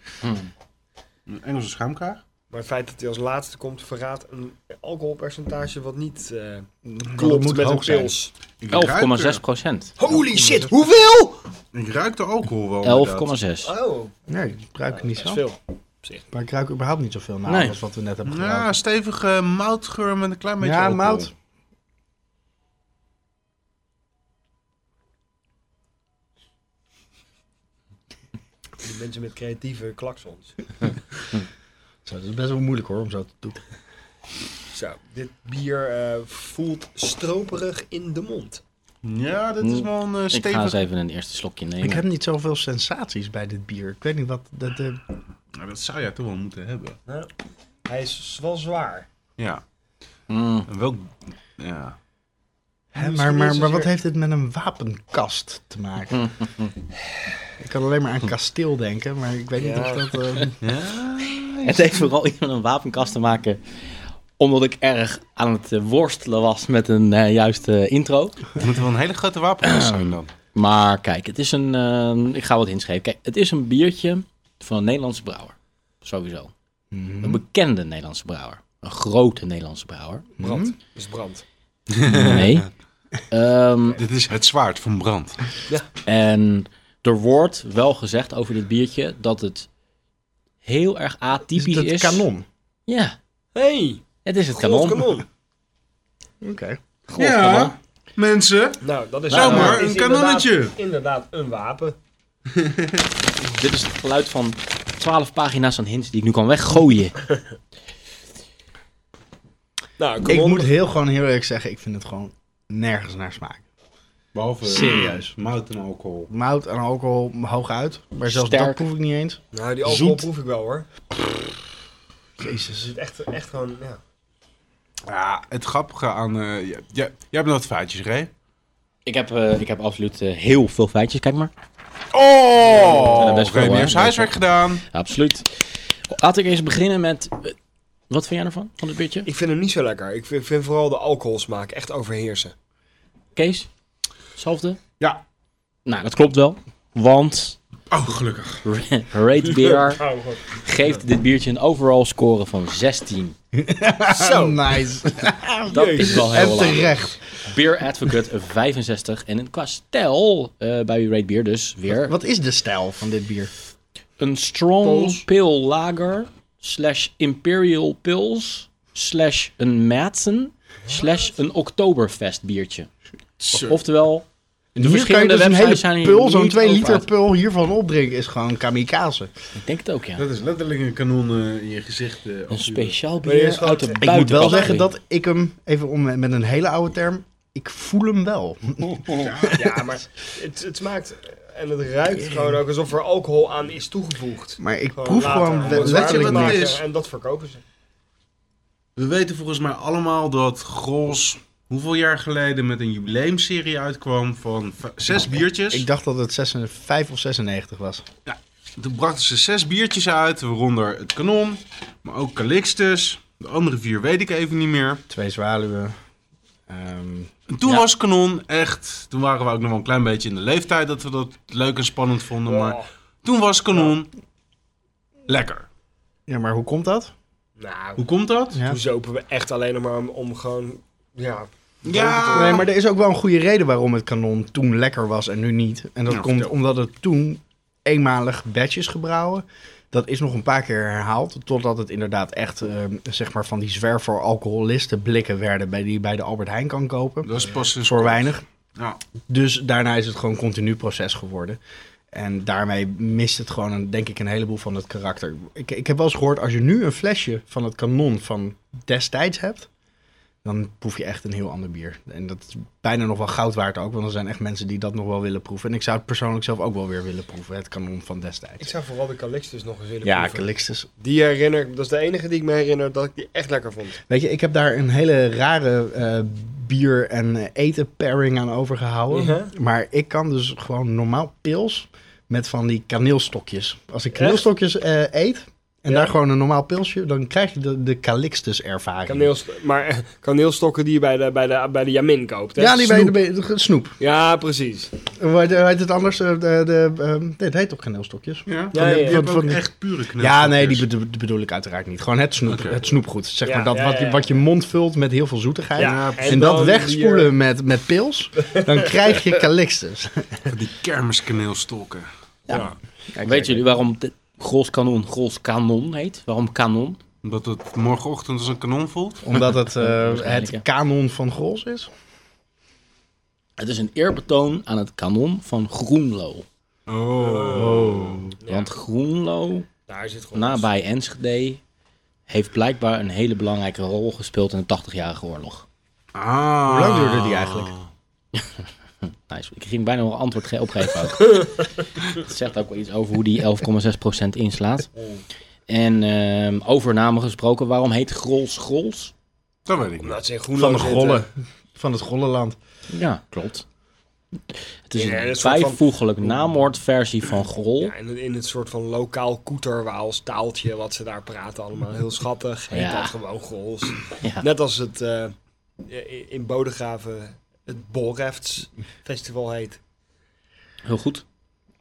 E: Een Engelse schuimkraag?
B: Maar het feit dat hij als laatste komt verraadt een alcoholpercentage wat niet eh
C: Dat
B: klopt
C: moet
B: met een
C: hoog zijn.
B: pils.
E: Ik ruik
A: 11,6
E: er-
A: procent.
B: Holy shit, hoeveel?
E: Ik ruik de alcohol wel.
A: 11,6.
B: Oh,
C: Nee, ik ruik het niet
B: dat is
C: zo.
B: veel.
C: Maar ik ruik überhaupt niet zoveel na
A: Nee.
C: als wat we net hebben gedaan.
E: Ja, stevige moutgeur met een klein beetje
C: Ja,
E: alcohol.
C: mout.
B: Die mensen met creatieve klaksons.
C: Zo, dat is best wel moeilijk hoor om zo te doen.
B: Zo, dit bier eh, voelt stroperig in de mond.
E: Ja, dit is wel een eh,
A: Mm. Ik ga eens
E: stevig...
A: even een eerste slokje nemen.
C: Ik heb niet zoveel sensaties bij dit bier. Ik weet niet wat. Dat, eh,
E: Nou, dat zou jij toch wel moeten hebben.
B: Hij is wel zwaar.
E: Ja.
A: Mm.
E: En welk... Ja.
C: hè,
B: Misschien
C: maar,
B: is
C: maar,
B: het
C: maar wat
B: weer-
C: heeft dit met een wapenkast te maken? ik kan alleen maar aan kasteel denken, maar ik weet niet
B: Ja.
C: of dat. eh,
A: Het heeft vooral iets met een wapenkast te maken. Omdat ik erg aan het eh, worstelen was met een eh, juiste intro.
E: Het moet wel een hele grote wapen zijn dan.
A: Maar kijk, het is een. eh, ik ga wat inschrijven. Kijk, het is een biertje van een Nederlandse brouwer. Sowieso. Een bekende Nederlandse brouwer. Een grote Nederlandse brouwer.
B: Brand. is brand.
A: Nee. Ehm,
E: Dit is het zwaard van brand.
A: en er wordt wel gezegd over dit biertje dat het heel erg
C: is
A: atypisch
C: het
A: is.
C: het kanon?
A: Ja,
B: Hey,
A: het is het
B: kanon.
A: kanon.
B: kanon.
C: Oké.
A: Golfkanon.
E: mensen.
B: Nou, dat is
E: Nou,
B: dat
E: maar,
B: is
E: een
B: inderdaad-
E: kanonnetje.
B: Inderdaad, een wapen.
A: Dit is het geluid van 12 pagina's aan hints die ik nu kan weggooien.
B: Nou, een
C: Ik
B: kanon.
C: moet heel gewoon heel eerlijk zeggen, ik vind het gewoon nergens naar smaak.
E: Behalve eh,
C: Serieus.
E: mout en alcohol.
C: Mout en alcohol hooguit, maar zelfs dat
A: Sterk.
C: proef ik niet eens.
B: Nou, die alcohol
A: Zoet.
B: proef ik wel hoor. Er
C: Jezus.
B: zit echt, echt gewoon, ja.
E: Ja, het grappige aan... eh, ja, ja, jij hebt nog wat vaatjes, Ray.
A: Ik heb, eh, ik heb absoluut eh, heel veel feitjes, kijk maar.
E: Oh,
A: zijn er
E: oké,
A: best veel,
E: meer
A: hè?
E: heeft zijn huiswerk gedaan.
A: Absoluut. Laat ik eens beginnen met... eh, Wat vind jij ervan, van dit biertje?
B: Ik vind hem niet zo lekker. Ik vind, vind vooral de alcoholsmaak echt overheersen.
A: Kees? Hetzelfde?
E: Ja.
A: Nou, dat klopt wel. Want
E: Oh, gelukkig.
A: Rate Beer geeft dit biertje een overall score van 16.
C: Zo nice.
A: Dat is wel
C: En
A: heel laag.
C: terecht.
A: Beer Advocate 65. En qua stijl eh, bij Rate Beer dus weer
C: Wat is de stijl van dit bier?
A: Een strong
E: Pils.
A: pale lager slash imperial pils slash een Madsen slash een Oktoberfest biertje. Oftewel, de
C: Hier kan je
A: verschillende
C: dus een
A: websites
C: hele
A: zijn
C: pul, zo'n 2
A: 2
C: liter pul hiervan opdrinken is gewoon kamikaze.
A: Ik denk het ook, ja.
E: Dat is letterlijk een kanon eh, in je gezicht. eh,
A: Een
E: als u-
A: speciaal
B: Maar eerst
A: bier
B: gewoon-
A: uit de
B: Ik
A: buiten.
C: Ik moet wel zeggen dat ik hem, even om met een hele oude term, ik voel hem wel.
B: Ja, maar het, het smaakt en het ruikt gewoon ook alsof er alcohol aan is toegevoegd.
C: Maar ik
B: Gewoon
C: proef
B: later
C: gewoon
B: om
C: le-
B: het
C: letterlijk
B: zwaarder te
E: wat
C: niks.
E: het
B: maken
E: is.
B: En dat verkopen ze.
E: We weten volgens mij allemaal dat Gros hoeveel jaar geleden met een jubileumserie uitkwam van v- zes biertjes.
C: Ik dacht dat het 5 of 96 was.
E: Toen brachten ze zes biertjes uit, waaronder het kanon, maar ook Calixtus. De andere vier weet ik even niet meer.
C: Twee zwaluwen. ehm,
E: En toen
A: Ja.
E: was kanon echt, toen waren we ook nog wel een klein beetje in de leeftijd dat we dat leuk en spannend vonden. Maar
B: Oh,
E: toen was kanon lekker.
C: ja, maar hoe komt dat?
B: nou,
E: Hoe komt dat?
C: Ja.
B: toen zopen we echt alleen nog maar om, om gewoon... Ja,
E: Ja.
C: Nee, maar er is ook wel een goede reden waarom het kanon toen lekker was en nu niet. En dat
E: Nou,
C: komt
E: vertel.
C: omdat het toen eenmalig batches gebrouwen. Dat is nog een paar keer herhaald, totdat het inderdaad echt ehm, zeg maar van die zwerver alcoholisten blikken werden bij die je bij de Albert Heijn kan kopen.
E: Dat is pas een
C: Voor weinig.
E: Ja.
C: Dus daarna is het gewoon een continu proces geworden. En daarmee mist het gewoon, een, denk ik, een heleboel van het karakter. Ik, ik heb wel eens gehoord, als je nu een flesje van het kanon van destijds hebt, dan proef je echt een heel ander bier. En dat is bijna nog wel goud waard ook, want er zijn echt mensen die dat nog wel willen proeven. En ik zou het persoonlijk zelf ook wel weer willen proeven, het kanon van
B: ik
C: destijds.
B: zou vooral de Calixtus nog eens willen
C: Ja,
B: proeven.
C: Calixtus.
B: Die herinner ik, dat is de enige die ik me herinner dat ik die echt lekker vond.
C: Weet je, ik heb daar een hele rare eh, bier- en eh, eten pairing aan overgehouden.
B: Ja.
C: Maar ik kan dus gewoon normaal pils met van die kaneelstokjes. Als ik kaneelstokjes eh, eet en daar gewoon een normaal pilsje, dan krijg je de, de Calixtus ervaring.
B: Kaneelst maar eh, kaneelstokken die je bij de, bij de, bij de Jamin koopt. Hè?
C: Ja, die bij
B: Snoep.
C: de, bij de- snoep.
B: Ja, precies.
C: Hoe heet- hoe heet het anders? Eh, De, de, ehm, nee, het heet toch kaneelstokjes?
E: Ja,
B: Ja, ja,
E: Je hebt
C: Van-
E: ook
C: van-
E: echt pure knuffel.
C: Ja, nee, die bedo- die bedoel ik uiteraard niet. Gewoon het, snoep,
E: Oké.
C: het snoepgoed. Zeg
B: Ja,
C: maar dat
B: ja,
C: wat, je,
B: ja,
C: wat je mond vult met heel veel zoetigheid.
B: Ja,
E: en
C: En, dat
B: dan
C: wegspoelen
B: hier-
C: met, met pils, dan krijg je Calixtus.
E: Die kermiskaneelstokken. Ja.
A: Weet jullie waarom dit Grols Kanon Grols Kanon heet? Waarom Kanon?
E: Omdat het morgenochtend als een kanon voelt.
C: Omdat het eh,
A: Waarschijnlijk, ja.
C: het kanon van Grols is.
A: Het is een eerbetoon aan het kanon van Groenlo.
E: Oh.
A: Want Groenlo,
B: Daar zit gewoon...
A: nabij Enschede, heeft blijkbaar een hele belangrijke rol gespeeld in de 80-jarige oorlog.
E: Ah.
C: Hoe lang duurde die eigenlijk?
A: Nice. Nou, Ik ging bijna wel een antwoord ge- opgeven ook. Het zegt ook wel iets over hoe die 11,6% inslaat. En ehm, over namen gesproken, waarom heet Grols Grols?
E: Dat weet ik niet.
B: Omdat ze in Groenlo
C: Van de
B: zitten.
C: Grollen. Van het Grollenland.
A: Ja, klopt. Het is
B: Ja,
A: een
B: een soort van-
A: bijvoeglijk naamwoordversie van Grol.
B: Ja, in, in het soort van lokaal koeterwaals taaltje wat ze daar praten allemaal. Heel schattig. Heet
A: Ja.
B: dat gewoon Grols.
A: Ja.
B: Net als het eh, i- in Bodegraven het Borrefts Festival heet.
A: Heel goed.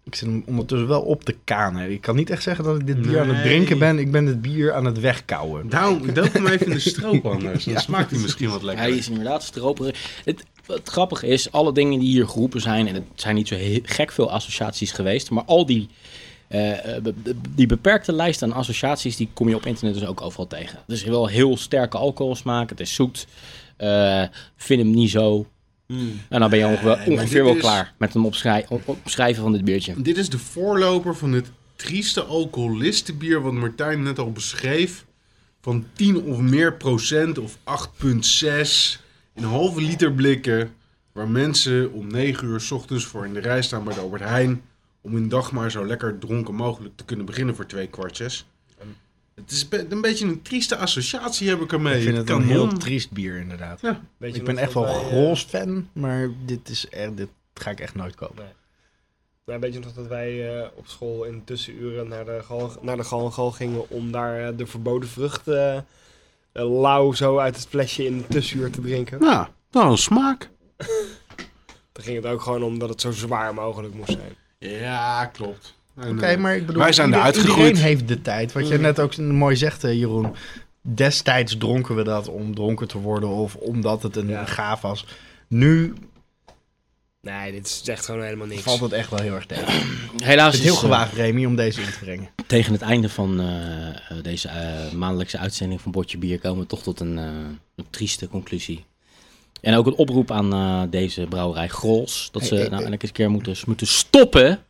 C: Ik zit hem ondertussen wel op te kanen. Ik kan niet echt zeggen dat ik dit bier aan het
E: Nee.
C: drinken ben. Ik ben het bier aan het wegkouwen.
E: Daarom, doop hem even in de stroop anders. Dan smaakt hij misschien wat lekker.
A: Hij is inderdaad stroperig. Het, het grappige is, alle dingen die hier geroepen zijn, en het zijn niet zo he- gek veel associaties geweest, maar al die, eh, eh, be- be- die beperkte lijst aan associaties, die kom je op internet dus ook overal tegen. Het is wel heel sterke alcoholsmaak, het is zoet, eh, vind hem niet zo.
C: Hmm.
A: En dan ben je
C: Eh,
A: ongeveer,
E: Nee, maar
A: ongeveer
E: dit
A: wel
E: is-
A: klaar met een opschrij- op- opschrijven van dit biertje.
E: Dit is de voorloper van het trieste alcoholistenbier wat Martijn net al beschreef. Van 10 of meer procent of 8,6 in halve liter blikken. Waar mensen om 9 uur 's ochtends voor in de rij staan bij de Albert Heijn. Om hun dag maar zo lekker dronken mogelijk te kunnen beginnen voor twee kwartjes. Het is be- een beetje een trieste associatie heb ik ermee.
C: ik vind het
E: kan
C: een heel
E: heel-
C: triest bier inderdaad.
B: Weet je
C: Ik ben
B: nog
C: echt
B: dat
C: wel
B: wij, eh,
C: Grols fan, maar dit, is echt, dit ga ik echt nooit kopen.
B: Nou, weet je nog dat wij eh, op school in de tussenuren naar de gal, naar de gal, gal gingen om daar eh, de verboden vrucht eh, eh, lauw zo uit het flesje in de tussenuur te drinken?
E: Nou, nou, een smaak.
B: Dan ging het ook gewoon om dat het zo zwaar mogelijk moest zijn.
E: Ja, klopt. En,
C: Oké,
E: eh,
C: maar ik bedoel,
E: Wij zijn
C: ieder-
E: eruit
C: iedereen
E: gegroeid.
C: heeft de tijd. Wat je net ook mooi zegt, eh, Jeroen. Destijds dronken we dat om dronken te worden of omdat het een
B: Ja.
C: gaaf was. Nu
B: Nee, dit is echt gewoon helemaal niks.
C: valt het echt wel heel erg tegen.
A: Helaas
C: Het is heel
A: eh,
C: gewaagd, Remy, om deze in te brengen.
A: tegen het einde van eh, eh, deze eh, maandelijkse uitzending van Bordje Bier komen we toch tot een, eh, een trieste conclusie. En ook een oproep aan eh, deze brouwerij Grols. Dat ze
C: Hey, hey,
A: nou eindelijk eens een keer moeten, moeten stoppen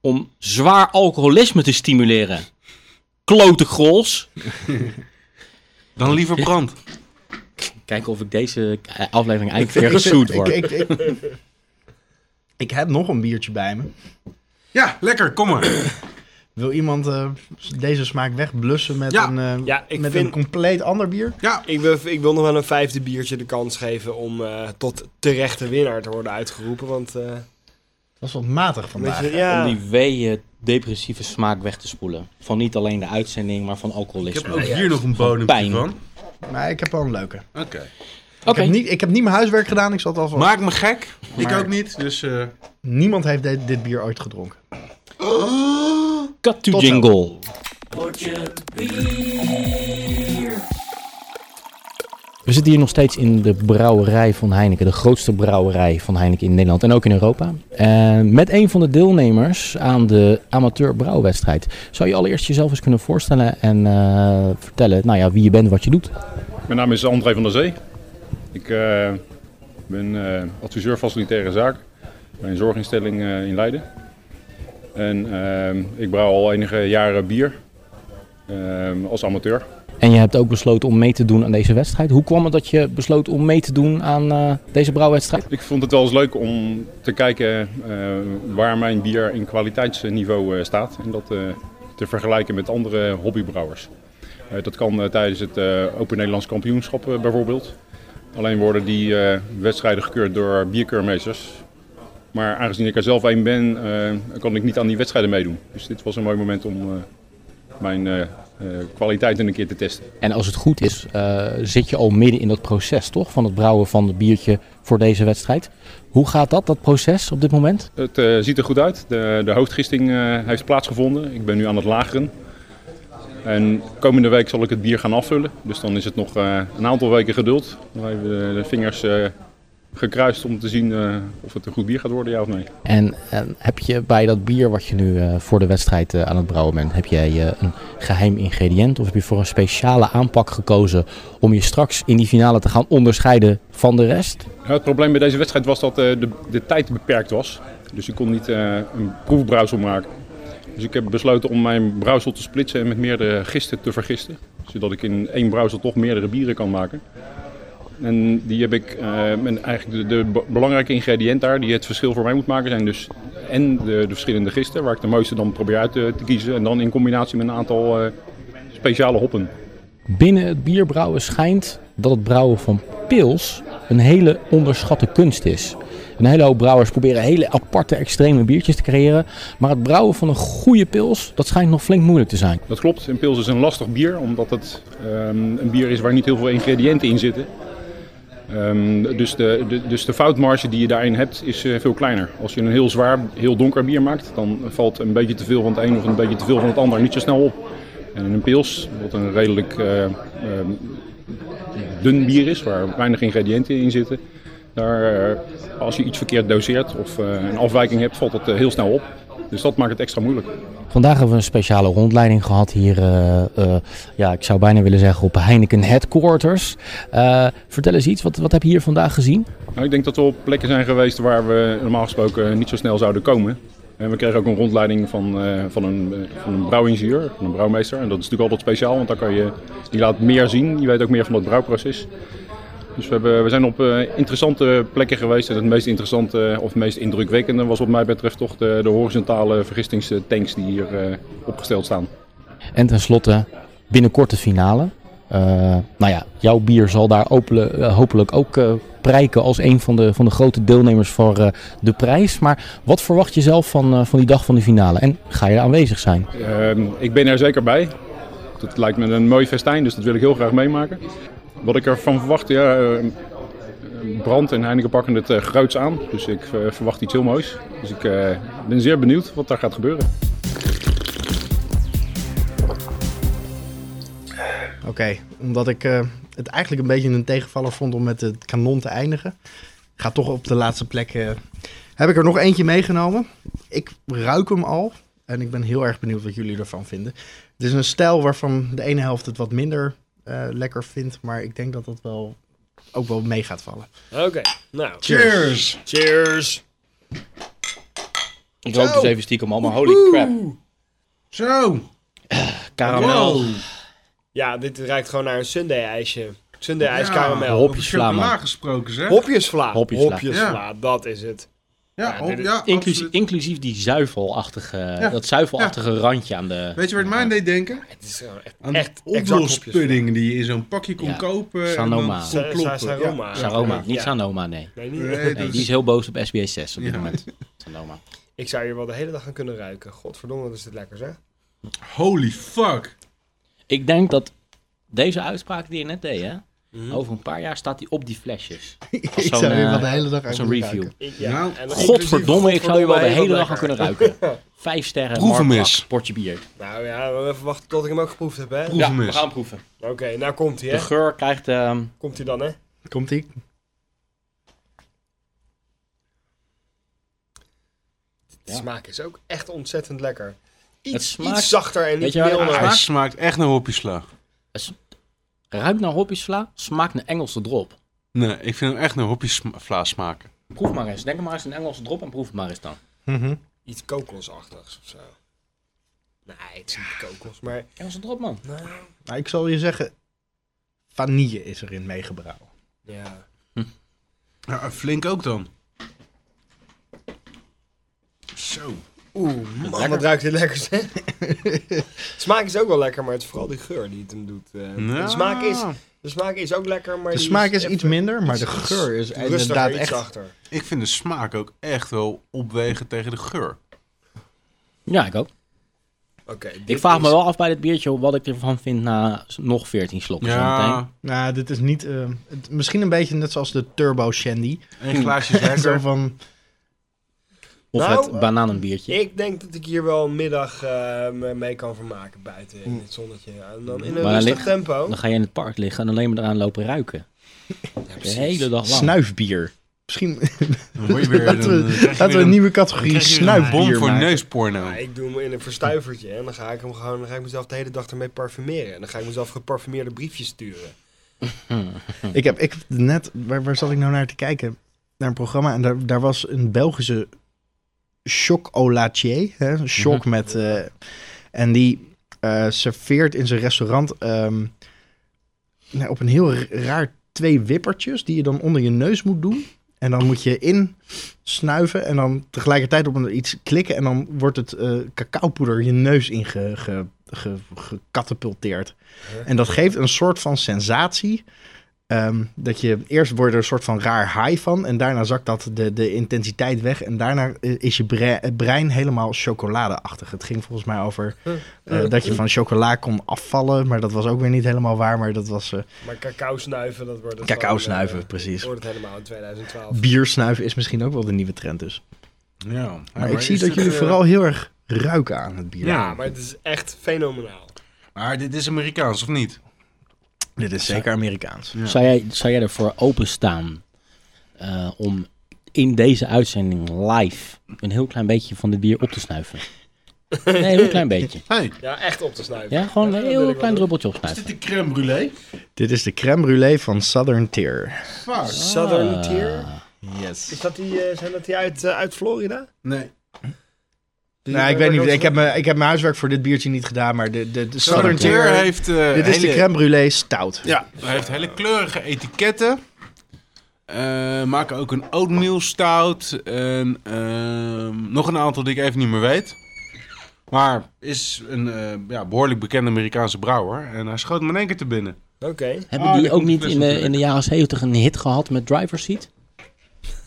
A: om zwaar alcoholisme te stimuleren. Klote Grols.
E: Dan liever brand.
A: Kijken of ik deze eh, aflevering eigenlijk weer gesued word.
C: Ik, ik, ik, ik heb nog een biertje bij me.
E: Ja, lekker, kom maar.
C: Wil iemand eh, deze smaak wegblussen met,
E: Ja.
C: een, eh,
B: Ja, ik
C: met
B: vind-
C: een compleet ander bier?
E: Ja,
B: Ik wil, ik wil nog wel een vijfde biertje de kans geven om eh, tot terechte winnaar te worden uitgeroepen. Want eh,
C: Dat is wat matig vandaag.
B: weet je, ja,
A: Om die weeën depressieve smaak weg te spoelen. Van niet alleen de uitzending, maar van
E: ik heb
A: alcoholisme.
E: ook Oh, hier nog een bodem
A: Pijn.
E: van.
C: Maar ik heb wel een leuke.
E: Oké.
A: Oké,
C: Ik, heb niet, ik heb niet mijn huiswerk gedaan, ik zat alvast.
E: Maak me gek. Ik
C: Maar-
E: ook niet, dus... eh,
C: Niemand heeft dit, dit bier ooit gedronken.
A: cut to
C: Tot zo.
A: jingle. We zitten hier nog steeds in de brouwerij van Heineken, de grootste brouwerij van Heineken in Nederland en ook in Europa. En met een van de deelnemers aan de amateur brouwwedstrijd. Zou je allereerst jezelf eens kunnen voorstellen en eh, vertellen nou ja, wie je bent, wat je doet?
I: Mijn naam is André van der Zee. Ik eh, ben eh, adviseur facilitaire zaken bij een zorginstelling eh, in Leiden. En eh, ik brouw al enige jaren bier eh, als amateur.
A: En je hebt ook besloten om mee te doen aan deze wedstrijd. Hoe kwam het dat je besloot om mee te doen aan eh, deze brouwwedstrijd?
I: Ik vond het wel eens leuk om te kijken eh, waar mijn bier in kwaliteitsniveau eh, staat. En dat eh, te vergelijken met andere hobbybrouwers. Eh, dat kan eh, tijdens het eh, Open Nederlands Kampioenschap eh, bijvoorbeeld. Alleen worden die eh, wedstrijden gekeurd door bierkeurmeesters. Maar aangezien ik er zelf een ben, eh, kan ik niet aan die wedstrijden meedoen. Dus dit was een mooi moment om eh, mijn eh, eh, kwaliteiten een keer te testen.
A: En als het goed is, eh, zit je al midden in dat proces, toch? Van het brouwen van het biertje voor deze wedstrijd. Hoe gaat dat, dat proces op dit moment?
I: Het eh, ziet er goed uit. De, de hoofdgisting eh, heeft plaatsgevonden. Ik ben nu aan het lageren. En komende week zal ik het bier gaan afvullen. Dus dan is het nog eh, een aantal weken geduld. Dan hebben we de vingers eh, gekruist om te zien eh, of het een goed bier gaat worden, ja of nee.
A: En, en heb je bij dat bier wat je nu eh, voor de wedstrijd eh, aan het brouwen bent, heb jij eh, een geheim ingrediënt? Of heb je voor een speciale aanpak gekozen om je straks in die finale te gaan onderscheiden van de rest?
I: Nou, het probleem bij deze wedstrijd was dat eh, de, de tijd beperkt was. Dus ik kon niet eh, een proefbrouwsel maken. Dus ik heb besloten om mijn brouwsel te splitsen en met meerdere gisten te vergisten. Zodat ik in één brouwsel toch meerdere bieren kan maken. En die heb ik, eh, en eigenlijk de, de be- belangrijke ingrediënt daar die het verschil voor mij moet maken zijn dus en de, de verschillende gisten, waar ik de mooiste dan probeer uit te, te kiezen. En dan in combinatie met een aantal eh, speciale hoppen.
A: Binnen het bierbrouwen schijnt dat het brouwen van pils een hele onderschatte kunst is. Een hele hoop brouwers proberen hele aparte, extreme biertjes te creëren. Maar het brouwen van een goede pils, dat schijnt nog flink moeilijk te zijn.
I: Dat klopt. Een pils is een lastig bier, omdat het ehm, een bier is waar niet heel veel ingrediënten in zitten. Ehm, dus, de, de, dus de foutmarge die je daarin hebt is eh, veel kleiner. Als je een heel zwaar, heel donker bier maakt, dan valt een beetje te veel van het een of een beetje te veel van het ander niet zo snel op. En in een pils, wat een redelijk eh, ehm, dun bier is, waar weinig ingrediënten in zitten, daar, eh, als je iets verkeerd doseert of eh, een afwijking hebt, valt dat eh, heel snel op. Dus dat maakt het extra moeilijk.
A: Vandaag hebben we een speciale rondleiding gehad hier, eh, eh, ja, ik zou bijna willen zeggen op Heineken Headquarters. Eh, vertel eens iets, wat, wat heb je hier vandaag gezien?
I: Nou, ik denk dat we op plekken zijn geweest waar we normaal gesproken niet zo snel zouden komen. En we kregen ook een rondleiding van, eh, van, een, eh, van een brouwingenieur, van een brouwmeester. En dat is natuurlijk altijd speciaal, want dan kan je, die laat meer zien. Je weet ook meer van het brouwproces. Dus we, hebben, we zijn op eh, interessante plekken geweest. En het meest interessante eh, of het meest indrukwekkende was wat mij betreft toch de, de horizontale vergistingstanks die hier eh, opgesteld staan.
A: En tenslotte, binnenkort de finale. Eh, nou ja, jouw bier zal daar hopelijk, eh, hopelijk ook eh, prijken als een van de, van de grote deelnemers voor eh, de prijs. Maar wat verwacht je zelf van, eh, van die dag van de finale? En ga je er aanwezig zijn?
I: Ehm, ik ben er zeker bij. Dat lijkt me een mooi festijn, dus dat wil ik heel graag meemaken. Wat ik ervan verwacht, ja, ehm, Brand en Heineken pakken het eh groots aan. Dus ik eh, verwacht iets heel moois. Dus ik eh, ben zeer benieuwd wat daar gaat gebeuren.
C: Oké, omdat ik eh, het eigenlijk een beetje een tegenvaller vond om met het kanon te eindigen. Ga toch op de laatste plek. eh, heb ik er nog eentje meegenomen. Ik ruik hem al. En ik ben heel erg benieuwd wat jullie ervan vinden. Het is een stijl waarvan de ene helft het wat minder eh, lekker vindt. Maar ik denk dat dat wel ook wel mee gaat vallen.
B: Oké, nou.
E: Cheers!
B: Cheers.
A: Ik rook dus even stiekem al, maar holy crap.
E: Zo!
A: Karamel.
B: Ja, dit ruikt gewoon naar een Sunday-ijsje. Sunday-ijs
E: Ja.
B: karamel.
A: Hop.
E: Op
A: Hopjes vla,
E: chocola
A: man.
E: gesproken, zeg.
B: Hopjesvla.
A: Hopjesvla.
B: Hopjesvla, dat is het.
E: Ja, hop,
B: dit is-
E: ja,
A: Inclusief,
E: absoluut.
A: inclusief die zuivelachtige, eh,
E: Ja.
A: dat zuivelachtige randje aan de...
E: Weet je waar het mij aan deed denken?
B: Het is gewoon echt...
E: Aan die
B: Echt exact
E: oplospudding die je in zo'n pakje kon
A: Ja.
E: kopen. en
A: Sanoma.
E: dan kon
A: Sa-
E: kloppen. Ja.
B: Saroma.
A: Saroma, niet
B: Ja.
A: Sanoma, nee.
B: Nee, niet.
E: Nee,
A: Nee, dus-
E: dat
A: die is
E: is-
A: heel boos op SBS 6 op dit
E: Ja.
A: moment. Sanoma.
B: Ik zou hier wel de hele dag aan kunnen ruiken. Godverdomme, wat is dit lekker zeg.
E: Holy fuck!
A: Ik denk dat deze uitspraak die je net deed, hè, over een paar jaar staat die op die flesjes.
C: ik
A: zo'n,
C: zou hier wel
A: eh,
C: de hele dag aan
A: Zo'n
C: kunnen
A: review.
C: ruiken.
B: Ik, ja.
E: Nou,
B: En dat
A: Godverdomme, ik zou je wel de hele dag aan
B: lekker.
A: kunnen ruiken. Vijf sterren,
E: Proef hem
A: Mark
E: eens.
A: Bak, portje bier.
B: Nou ja, we even wachten tot ik hem ook geproefd heb, hè?
E: Proef hem eens.
A: proeven.
B: Oké, nou komt hij,
A: De
B: hè?
A: geur krijgt... ehm,
B: Komt hij dan, hè?
C: Komt ie?
B: De smaak is ook echt ontzettend lekker. Iets,
A: Het smaakt-
B: iets zachter en
A: Weet
B: iets
A: je waar Ah, het
B: milder.
A: aan
E: Hij
A: Smaak?
E: smaakt echt naar hopjesla.
A: ruikt naar hopjesvla, smaakt naar Engelse drop.
E: Nee, ik vind hem echt naar hopjesla smaken.
A: Proef maar eens. Denk maar eens een Engelse drop en proef het maar eens dan.
C: Mhm.
B: Iets kokosachtigs of zo. Nee, het is niet kokos, maar...
A: Engelse drop, man.
C: Nou, ik zal je zeggen, vanille is erin meegebrouwen.
B: Ja.
E: Ja, flink ook dan. Zo.
B: Oeh, man, wat ruikt dit lekker, zeg. de smaak is ook wel lekker, maar het is vooral die geur die het hem doet. eh.
E: Ja.
B: de, smaak is, de smaak is ook lekker, maar
C: De
B: die
C: smaak is
B: even
C: iets minder, maar de geur is
B: rustiger,
C: inderdaad
B: iets
C: echt...
B: zachter.
E: Ik vind de smaak ook echt wel opwegen tegen de geur.
A: Ja, ik ook.
B: Oké,
A: Ik
B: dit
A: vraag me
B: is-
A: wel af bij dit biertje wat ik ervan vind na nog 14 slokken. zometeen.
C: Nou, dit is niet... eh, het- misschien een beetje net zoals de Turbo Shandy.
E: een glaasje
C: Zo
E: lekker.
C: van...
A: Of
B: Nou,
A: het bananenbiertje.
B: Ik denk dat ik hier wel een middag eh, me- mee kan vermaken buiten
C: Hm.
B: in het zonnetje. En dan in een
A: Maar dan
B: rustig
A: ligt-
B: tempo.
A: Dan ga je in het park liggen en alleen maar eraan lopen ruiken. de hele dag lang.
C: Snuifbier. Misschien
E: Dan word je weer
C: laten
E: een- dan
C: we,
E: krijg je
C: laten we
E: weer
C: een
E: een-
C: nieuwe categorie
E: krijg je weer een bom
C: snuifbier
E: voor
C: maken.
E: neusporno.
B: Ja, ik doe hem in een verstuivertje en dan ga ik hem gewoon, dan ga ik mezelf de hele dag ermee parfumeren. En dan ga ik mezelf geparfumeerde briefjes sturen.
C: Ik heb ik, heb net, waar, waar zat ik nou naar te kijken? Naar een programma en daar, daar was een Belgische chocolatier. Hè? Een Choc met... eh, en die eh, serveert in zijn restaurant ehm, nou, op een heel r- raar twee wippertjes die je dan onder je neus moet doen. En dan moet je in snuiven en dan tegelijkertijd op een, iets klikken. En dan wordt het eh, cacaopoeder je neus in ge- ge- ge- gecatapulteerd. En dat geeft een soort van sensatie. ehm, dat je eerst wordt er een soort van raar high van. En daarna zakt dat de, de intensiteit weg. En daarna eh, is je bre- eh, brein helemaal chocoladeachtig. Het ging volgens mij over eh, dat je van chocola kon afvallen. Maar dat was ook weer niet helemaal waar. Maar dat was eh,
B: Maar cacao snuiven, dat wordt het
C: Cacao
B: gewoon,
C: snuiven,
B: eh,
C: precies.
B: Wordt het helemaal in 2012.
C: bier snuiven is misschien ook wel de nieuwe trend dus.
E: Ja.
C: Maar ik zie
E: is
C: dat
E: dit,
C: jullie
E: eh,
C: vooral heel erg ruiken aan het bier.
E: Ja,
B: Ja, maar het is echt fenomenaal.
E: maar dit is Amerikaans, of niet?
C: Dit is zeker Amerikaans.
E: Ja.
A: Zou, jij, zou jij ervoor openstaan eh om in deze uitzending live een heel klein beetje van dit bier op te snuiven? Nee, een heel klein beetje.
E: Hey,
B: Ja, echt op te snuiven.
A: Ja, gewoon een
B: dat wil
A: heel
B: ik
A: klein
B: wel
A: druppeltje
E: is dit
A: opsnuiven.
E: de crème brûlée?
C: Dit is de crème brûlée van Southern Tier.
E: Fuck.
B: doen. Southern
A: Ah.
B: Tier.
C: Yes.
B: Is dat die, eh, zijn dat die uit, eh, uit Florida?
E: Nee.
B: Die-
C: Nou, ik weet
B: waar-
C: niet,
B: waar-
C: ik heb, mijn, ik heb mijn huiswerk voor dit biertje niet gedaan, maar de, de, de
E: Southern
C: Southern
E: Tier
C: Tier...
E: heeft... eh,
C: Dit is de
E: hele-
C: crème brûlée stout.
E: Ja, hij heeft hele kleurige etiketten. Eh, maken ook een oatmeal stout. En ehm, nog een aantal die ik even niet meer weet. Maar is een eh, ja, behoorlijk bekende Amerikaanse brouwer. En hij schoot me in één keer te binnen.
B: Oké.
A: Hebben
E: Ah,
A: die
E: dat
A: ook
E: moet
A: niet
E: best
A: in
E: wel
A: de, in de jaren 70 een hit gehad met Driver's Seat?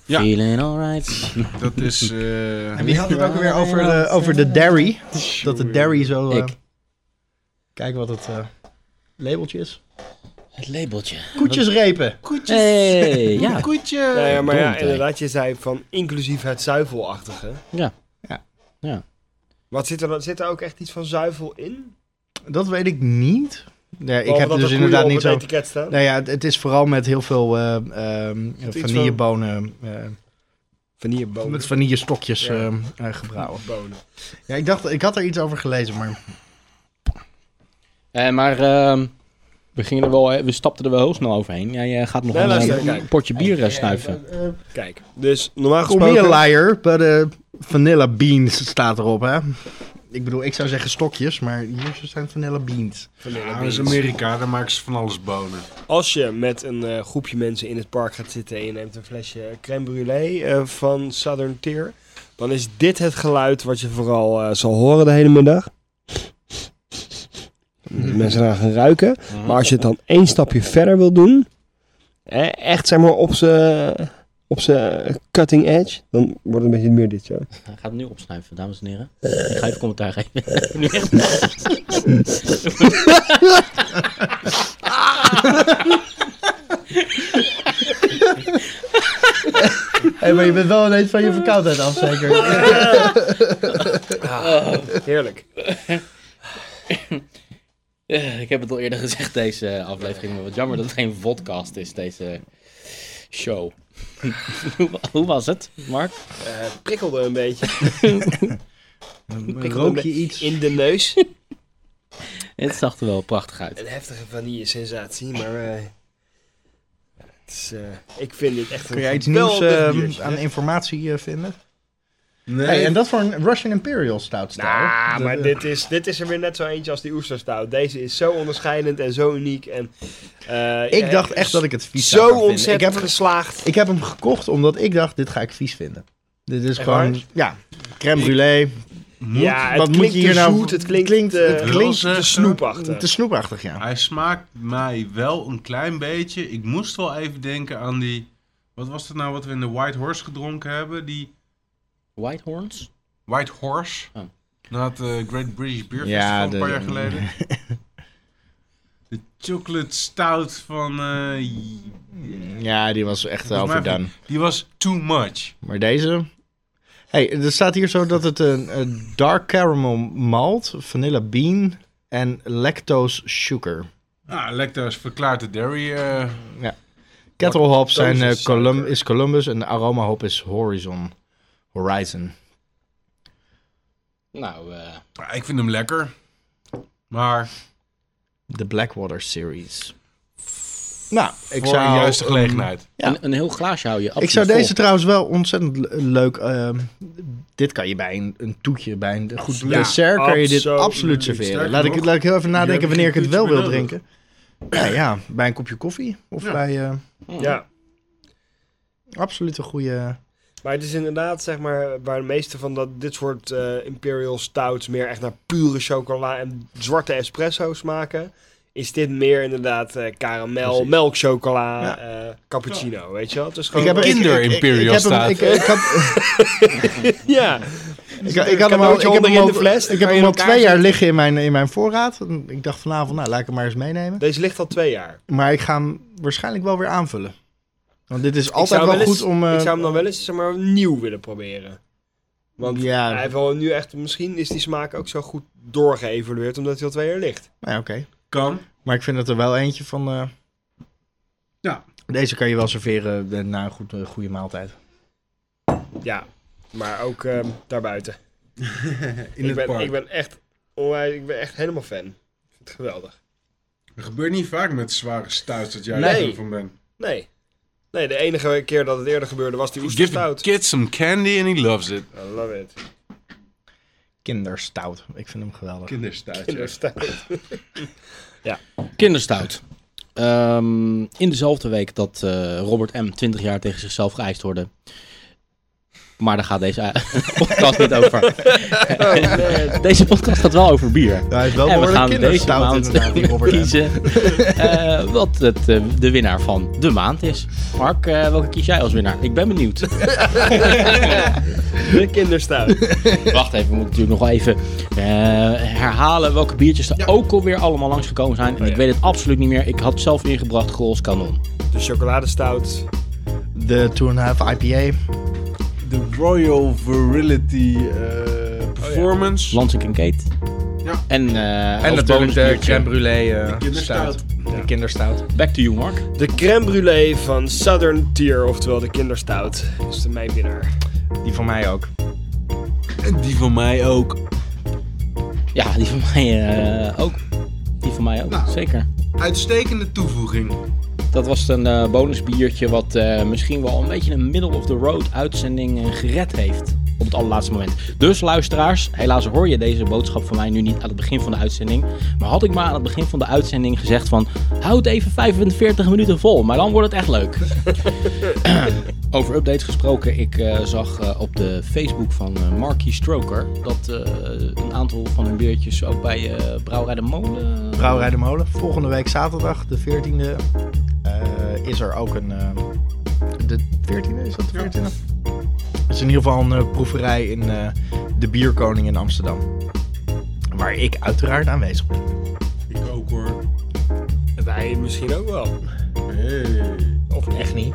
E: Ja.
A: Feeling alright.
E: Dat is... eh,
C: En wie had het ook weer over de, over de dairy? Dat de dairy zo... eh,
A: Ik.
C: kijk wat het eh, labeltje is.
A: Het labeltje.
C: Koetjesrepen.
A: Hey, ja.
B: Nou ja, maar ja,
A: verdomd, hè.
B: inderdaad, je zei van inclusief het zuivelachtige.
A: Ja.
C: Ja.
A: Ja.
B: Wat zit er, dan- zit er ook echt iets van zuivel in?
C: Dat weet ik niet. Nee, ik
B: Behalve
C: heb
B: dat
C: dus
B: er koeien
C: inderdaad
B: op
C: niet
B: het
C: zo...
B: etiket staan.
C: Nou ja, het, het is vooral met heel veel eh ehm,
B: iets
C: vanillebonen, eh,
B: Vanillebonen.
C: met vanillestokjes
B: Ja.
C: eh, eh, gebrouwen.
B: Bonen.
C: Ja, ik dacht, ik had er iets over gelezen, maar
A: Eh, maar ehm, we, gingen er wel, we stapten er wel heel snel overheen. Jij eh, gaat nog
B: Nee,
A: een,
B: luister,
A: eh,
B: kijk.
A: een potje bier eh, snuiven.
B: Kijk, dus normaal
C: Call me a
B: gesproken...
C: liar, but eh, vanilla beans staat erop, hè? Ik bedoel, ik zou zeggen stokjes, maar hier zijn vanilla beans.
E: Ja, dat is Amerika, daar maken ze van alles bonen.
B: Als je met een eh, groepje mensen in het park gaat zitten en je neemt een flesje crème brûlée eh, van Southern Tier, dan is dit het geluid wat je vooral eh, zal horen de hele middag. De mensen daar gaan ruiken. Maar als je het dan één stapje verder wil doen, eh, echt zeg maar op zijn op z'n cutting edge, dan wordt het een beetje meer dit zo.
A: Hij gaat het nu opsnuiven, dames en heren. Ik ga even commentaar geven. Eh. Nu echt.
C: Hé, maar je bent wel ineens van je verkoudheid af, zeker?
B: Heerlijk.
A: Eh, Ik heb het al eerder gezegd, deze aflevering. Maar wat jammer dat het geen vodcast is, deze show. Hoe wa- Hoe was het, Mark?
B: Eh, prikkelde een beetje
C: eh, Rook je iets?
B: in de neus.
A: Het zag er wel prachtig uit.
B: Een heftige vanille sensatie, maar eh, het is, eh, ik vind dit echt
C: Kun
B: een
C: jij iets nieuws
B: geweldig
C: eh,
B: biertje.
C: aan informatie eh, vinden?
E: Nee,
C: Hey, en dat voor een Russian Imperial stout stijl.
B: Ah,
C: Dat,
B: maar
C: eh,
B: dit is, dit is er weer net zo eentje als die oesterstout. Deze is zo onderscheidend en zo uniek. En, eh,
C: Ik
B: eh,
C: dacht echt dat ik het vies zou
B: Zo
C: gaan vinden.
B: ontzettend
C: Ik heb,
B: geslaagd.
C: ik heb hem gekocht omdat ik dacht, dit ga ik vies vinden. Dit is
B: Echt
C: gewoon,
B: waar?
C: ja, crème brûlée.
B: ja, het
C: wat moet
B: klinkt
C: je hier
B: te
C: nou-
B: zoet, het klinkt,
C: klinkt-
B: te,
C: het
E: klinkt
B: te
E: te
B: snoepachtig.
C: Te snoepachtig, ja.
E: Hij smaakt mij wel een klein beetje. Ik moest wel even denken aan die... Wat was dat nou wat we in de White Horse gedronken hebben? Die
A: Whitehorns?
E: White Horse.
A: Oh.
E: Na het eh, Great British Beer Festival
C: Ja,
E: een
C: de-
E: paar jaar geleden. de chocolate stout van... eh,
C: Ja, die was echt
E: volgens mij
C: overdone.
E: van- Die was too much.
C: Maar deze... hey, er staat hier zo dat het een, een dark caramel malt, vanilla bean en lactose sugar.
E: Nou, lactose verklaart de dairy. eh,
C: Kettle hops zijn, eh,
B: Lactose sugar.
C: Colum- is Columbus en de aroma hop is Horizon. Horizon.
A: Nou, eh,
E: ja, ik vind hem lekker. Maar
C: De Blackwater Series. Nou, ik
E: voor
C: zou...
E: een juiste
C: een-
E: gelegenheid.
C: Ja.
A: een, een heel glaasje hou je
C: Ik
A: absoluut
C: zou
A: vol.
C: deze trouwens wel ontzettend le- leuk... ehm, dit kan je bij een, een toetje, bij een goed
E: Absoluut.
C: dessert... kan je dit
B: absoluut.
C: absoluut serveren.
E: Sterker
C: Laat ik,
E: nog,
C: laat ik heel even nadenken
E: hebben
C: wanneer ik
E: geen
C: het wel
E: toetje
C: wil
E: meer
C: drinken. Ja, ja, bij een kopje koffie. Of
E: Ja.
C: bij... eh,
B: Ja,
C: absoluut een goede...
B: maar het is inderdaad zeg maar, waar de meeste van dat, dit soort eh, Imperial Stouts meer echt naar pure chocola en zwarte espresso's smaken. Is dit meer inderdaad eh, karamel,
C: Precies.
B: melkchocola,
C: Ja.
B: eh, cappuccino, weet je wel? Het is
C: Ik
B: gewoon...
C: heb er- ik-
E: Kinder
C: ik- ik-
E: Imperial
C: ik heb hem-
E: staat.
C: Ik, ik had,
B: ja.
C: ik, ik had hem al, ik heb hem
B: onderin
C: al,
B: de fles, dan
C: ik heb
B: kan je
C: hem al
B: elkaar
C: twee jaar
B: zetten.
C: liggen in mijn, in mijn voorraad. Ik dacht vanavond, nou, laat ik hem maar eens meenemen.
B: Deze ligt al twee jaar.
C: Maar ik ga hem waarschijnlijk wel weer aanvullen. Want dit is
B: Ik
C: altijd
B: zou
C: wel,
B: eens-
C: goed om... eh,
B: ik zou hem dan wel eens zeg maar, nieuw willen proberen. Want
C: Ja.
B: hij heeft wel nu echt... Misschien is die smaak ook zo goed doorgeëvalueerd... omdat hij al twee jaar ligt.
C: nou ja, oké.
E: Kan.
C: Maar ik vind dat er wel eentje van... eh,
E: Ja.
C: Deze kan je wel serveren eh, na een goed, eh, goede maaltijd.
B: Ja. Maar ook ehm, daarbuiten.
E: In
B: ik,
E: het
B: ben, ik
E: park.
B: ben echt... onwijs- ik ben echt helemaal fan. Ik vind het geweldig.
E: Dat gebeurt niet vaak met zware stouts dat jij
B: Nee.
E: er fan van bent.
B: Nee. Nee, de enige keer dat het eerder gebeurde was die
E: Give the
B: oesterstout.
E: kid some candy and he loves it.
B: I love it.
C: Kinderstout. Ik vind hem geweldig.
E: Kinderstout.
B: Oesterstout.
A: Kinderstout. Ehm, in dezelfde week dat eh, Robert M. 20 jaar tegen zichzelf geëist hoorde, Maar daar gaat deze eh, podcast niet over. eh, deze podcast gaat wel over bier.
C: Hij is Oh, wel
A: en we gaan
C: behoorlijk
A: deze
C: kinderstout
A: maand
C: inderdaad, die Robert M.
A: kiezen eh, wat het, eh, de winnaar van de maand is. Mark, eh, welke kies jij als winnaar? Ik ben benieuwd.
B: De kinderstuit.
A: Wacht even, we moeten natuurlijk nog wel even eh, herhalen welke biertjes er ook alweer allemaal langsgekomen
C: Oh
A: zijn. En ik weet het absoluut niet meer. Ik had zelf ingebracht Grols Kanon.
B: De chocoladestout.
C: De Two and a Half IPA.
E: De Royal Virility
J: Oh,
E: eh, Performance.
A: Lansing en Kate.
E: Ja.
A: En, eh,
J: En
A: als
J: natuurlijk de
A: bonusbiertje,
J: crème brûlée eh
E: kinderstout.
J: stout. De kinderstout.
A: Back to you, Mark.
B: De crème brûlée van Southern Tier, oftewel de kinderstout. Dat is de mijn winnaar.
J: Die van mij ook.
E: En die van mij ook.
A: Ja, die van mij eh, ook. Die van mij ook,
E: Nou.
A: zeker.
E: Uitstekende toevoeging.
A: Dat was een eh, bonusbiertje wat eh, misschien wel een beetje een middle-of-the-road uitzending eh, gered heeft. Op het allerlaatste moment. Dus luisteraars, helaas hoor je deze boodschap van mij nu niet aan het begin van de uitzending. Maar had ik maar aan het begin van de uitzending gezegd van... Houd even 45 minuten vol, maar dan wordt het echt leuk. Over updates gesproken, ik eh, zag eh, op de Facebook van eh Marky Stroker... dat eh, een aantal van hun biertjes ook bij eh Brouwerij de Molen...
C: Brouwerij de Molen. Volgende week zaterdag, de 14e, eh, is er ook een... eh, de 14e, is dat de 14e? Het is in ieder geval een eh, proeverij in eh, de Bierkoning in Amsterdam. Waar ik uiteraard aanwezig ben.
E: Ik ook hoor.
B: Wij misschien ook wel.
E: Hey.
C: Of echt niet.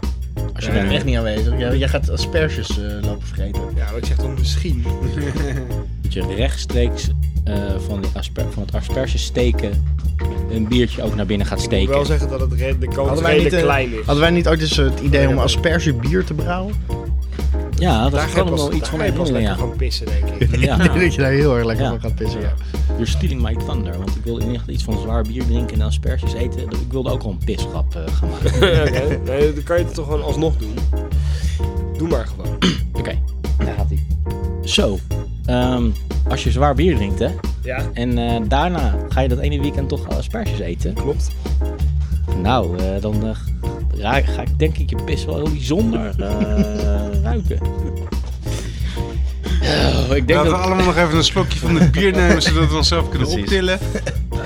C: Als je bent echt niet aanwezig. Jij, jij gaat asperges eh, lopen vergeten.
B: Ja, maar ik zeg dan misschien.
A: dat je rechtstreeks eh, van, die asper- van het asperges steken een biertje ook naar binnen gaat
B: Ik moet
A: steken.
B: wel zeggen dat het re- de kans
C: Hadden wij,
B: redelijk
C: niet, eh,
B: klein is.
C: hadden wij niet ooit eens het idee om aspergebier te brouwen?
A: Ja, dat
B: Daar ga
A: kan
B: je
A: ik me
B: pas,
A: wel
B: daar
A: iets van
B: ga je pas
A: herinneren,
B: lekker
A: ja.
B: van pissen, denk ik.
A: Ja.
C: Ik denk dat je daar heel erg lekker
A: Ja.
C: van gaat pissen. Ja.
A: You're stealing my thunder, want ik wilde in ieder geval iets van zwaar bier drinken en asperges eten. Ik wilde ook al een pisgrap eh, gaan maken.
B: Oké, nee, dan kan je het toch gewoon alsnog doen. Doe maar gewoon.
A: Oké, daar gaat hij. Zo, ehm, als je zwaar bier drinkt hè,
B: Ja,
A: en eh, daarna ga je dat ene weekend toch asperges eten.
B: klopt.
A: Nou, eh, dan eh, raak- ga ik denk ik je pis wel heel bijzonder eh, ruiken. Oh, ik denk
E: Laten
A: dat
E: we allemaal nog even een slokje van dit bier nemen, zodat we onszelf kunnen
J: Precies.
E: optillen.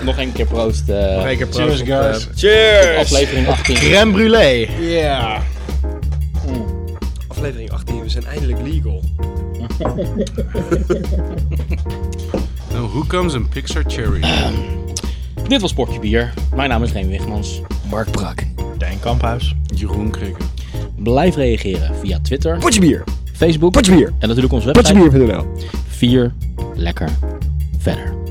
A: Nog één keer proost. eh,
J: Nog één keer
E: Cheers,
J: proost op, eh,
E: guys.
B: Cheers!
A: aflevering 18.
C: Crème brûlée.
B: Aflevering 18, we zijn eindelijk legal.
E: Nou, who comes in Pixar Cherry?
A: Dit was Sportje Bier. Mijn naam is Reen Wigmans.
B: Mark Brak.
C: Dijn Kamphuis.
E: Jeroen Krikken.
A: Blijf reageren via Twitter,
B: Potje bier!
A: Facebook
B: Potje bier!
A: en natuurlijk onze website.
H: Potjebier.nl
A: 4 Lekker Verder.